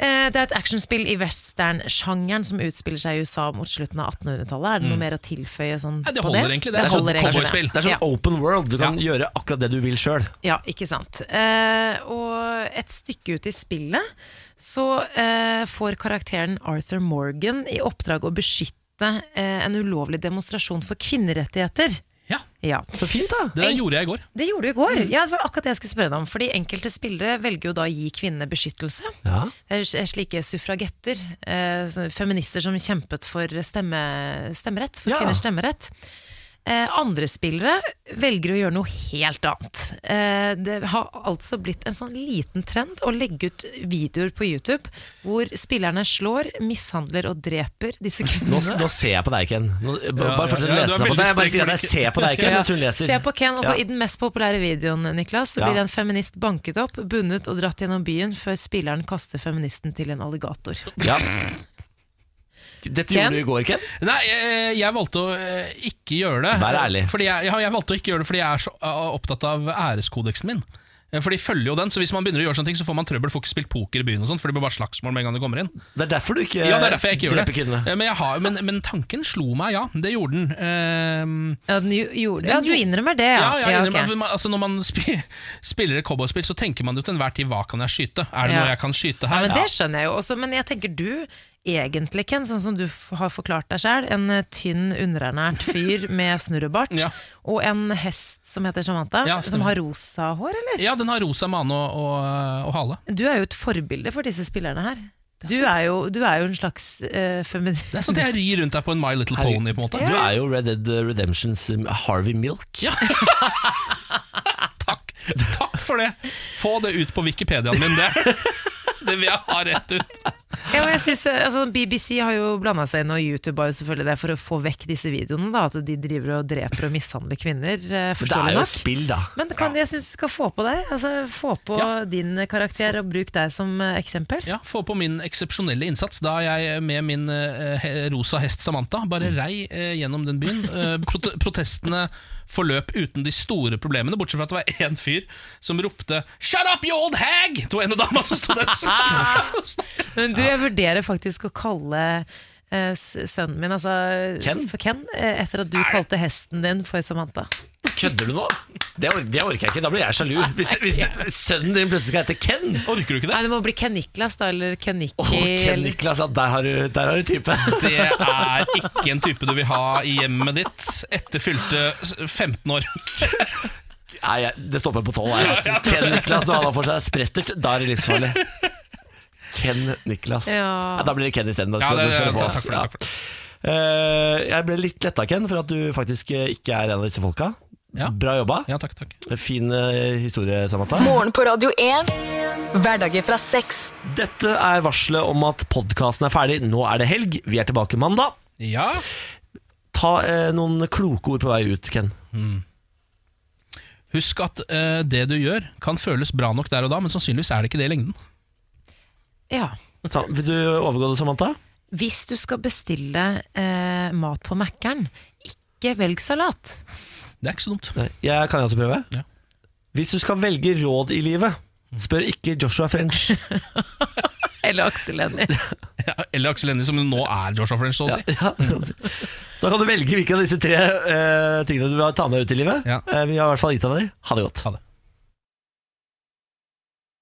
C: Eh, Det er et actionspill i western-sjangeren som utspiller seg i USA mot slutten av 1800-tallet. Er det noe
A: Mm.
C: mer å tilføye sånn
B: Nei, det
C: på
B: holder egentlig, det. Det er sånn
C: holder egentlig
B: cowboyspill.
A: Det er sånn
C: Ja.
A: open world. Du kan gjøre akkurat det du vil sjøl.
C: Ja, ikke sant. Eh, og et stykke ut i spillet så eh, får karakteren Arthur Morgan i oppdrag å beskytte eh, en ulovlig demonstrasjon for kvinnerettigheter.
B: Ja.
A: Så fint, da.
B: Det der gjorde jeg i går.
C: Det gjorde du i går. Ja, det var akkurat det jeg skulle spørre deg om. Fordi enkelte spillere velger jo da å gi kvinnene beskyttelse.
A: Ja.
C: Det er jo Eh, slike suffragetter, eh, sånne feminister som kjempet for stemme, stemmerett, for
P: Ja.
C: kvinners stemmerett. Eh, andre spillere velger å gjøre noe helt annet. Eh, det har altså blitt en sånn liten trend å legge ut videoer på YouTube hvor spillerne slår, mishandler og dreper disse
A: Nå,
C: kvinnene.
A: nå ser jeg på deg, Ken. Nå, b-
B: Ja,
A: bare
B: ja,
A: fortsett
B: ja,
A: å lese.
B: du er
A: Samantha.
B: veldig
A: Jeg bare sier at jeg
B: sterk.
A: ser på deg, Ken,
C: Ja.
A: mens hun leser.
C: Se på Ken, altså
A: Ja.
C: I den mest populære videoen Niklas Så
A: Ja.
C: blir en feminist banket opp, bundet og dratt gjennom byen før spilleren kaster feministen til en alligator.
A: Ja. Dette
C: Ken?
A: gjorde du i går, Ken.
B: Nei, jeg, jeg valgte å eh, ikke gjøre det.
A: Vær ærlig.
B: Fordi jeg, ja, jeg valgte å ikke gjøre det fordi jeg er så eh, opptatt av æreskodeksen min. Eh, For de følger jo den, så hvis man begynner å gjøre sånne ting, så får man trøbbel. Får ikke spilt poker i byen og sånn, for det blir bare slagsmål med en gang du kommer inn.
A: Det er derfor du ikke,
B: ja, det er derfor jeg ikke gjør
A: dreper
B: det.
A: Eh, kvinnene.
B: Eh, Men, jeg har, men, men tanken slo meg, ja. Det gjorde den. Ehm,
C: Ja, den jo- gjorde, ja, du innrømmer det, ja.
B: Ja, jeg
C: Ja,
B: innrømmer,
C: ok.
B: for man- altså Når man spi- spiller et cowboyspill, så tenker man jo til enhver tid hva kan jeg skyte? Er det
C: Ja.
B: noe jeg kan skyte
C: Ja,
B: her?
C: men Det skjønner jeg jo også, men jeg tenker du egentlig, Ken, sånn som du f- har forklart deg sjøl, en eh, tynn, underernært fyr med snurrebart og en hest som heter Samantha,
B: Ja,
C: som har rosa hår, eller?
B: Ja, den har rosa mane og, og, og hale.
C: Du er jo et forbilde for disse spillerne her. Du er, jo, du er jo en slags eh, feminist.
B: Det er sånn at jeg rir rundt der på en My Little Pony, på en måte.
A: Du er jo Red Dead Redemptions um, Harvey Milk.
B: Takk for det! Få det ut på Wikipediaen min, det. Det vil jeg ha rett ut.
C: Ja, men jeg synes, eh, altså, BBC har jo blanda seg inn, og YouTube har jo selvfølgelig det, for å få vekk disse videoene. Da, at de driver og dreper og mishandler kvinner.
A: Men
C: eh,
A: det er
C: Forståelig
A: jo
C: nok.
A: et spill, da.
C: Men kan, jeg syns du skal få på deg. Altså, få på din karakter, og bruk deg som eh, eksempel.
B: Ja, Få på min eksepsjonelle innsats da jeg med min eh, he- rosa hest Samantha bare rei eh, gjennom den byen. Eh, prote protestene forløp uten de store problemene, bortsett fra at det var én fyr som ropte 'Shut up, you old hag!' til ene dama som sto der. og snakket.
C: Men du, jeg vurderer faktisk å kalle eh, s- sønnen min, altså
A: Ken?
C: for Ken, eh, etter at du kalte hesten din for Samantha.
A: Kødder du nå? Det, or det orker jeg ikke. Da blir jeg sjalu. Hvis, hvis sønnen din plutselig skal hete Ken.
B: Orker du ikke
C: Nei, det må bli Ken Niklas, da, eller Ken Nikki.
A: Åh, Ken
C: eller-
A: Niklas, ja, der har du, der har du type.
B: Det er ikke en type du vil ha i hjemmet ditt etter fylte s- 15 år.
A: Nei, jeg- det stopper på tolv her. Altså. Ken Niklas når han har for seg sprettert, da er det livsfarlig. Ken Niklas.
C: Ja.
A: Nei, da blir det Ken isteden.
B: Ja,
A: Ja,
B: det-
A: ja,
B: takk for det, takk for
A: Eh, jeg ble litt letta, Ken, for at du faktisk eh, ikke er en av disse folka. Bra jobba. Fin eh, historie, Samantha.
D: Morgen på Radio 1. Hverdager fra seks.
A: Dette er varselet om at podkasten er ferdig. Nå er det helg. Vi er tilbake mandag.
B: Ja.
A: Ta eh, noen kloke ord på vei ut, Ken.
B: Mm. Husk at eh, det du gjør, kan føles bra nok der og da, men sannsynligvis er det ikke det i lengden.
C: Ja.
A: Ta, vil du overgå det, Samantha?
C: Hvis du skal bestille eh, mat på Mækkern, ikke velg salat.
B: Det er ikke så dumt.
A: Nei, Jeg kan jeg også prøve. Hvis du skal velge råd i livet, spør ikke Joshua French.
C: Eller Aksel Hennie.
B: Eller Aksel Hennie, som nå er Joshua French, så å si.
A: Da kan du velge hvilke av disse tre eh, tingene du vil ta med deg ut i livet. Eh, vi har i hvert fall gitt deg de. Ha det godt.
B: Ha det.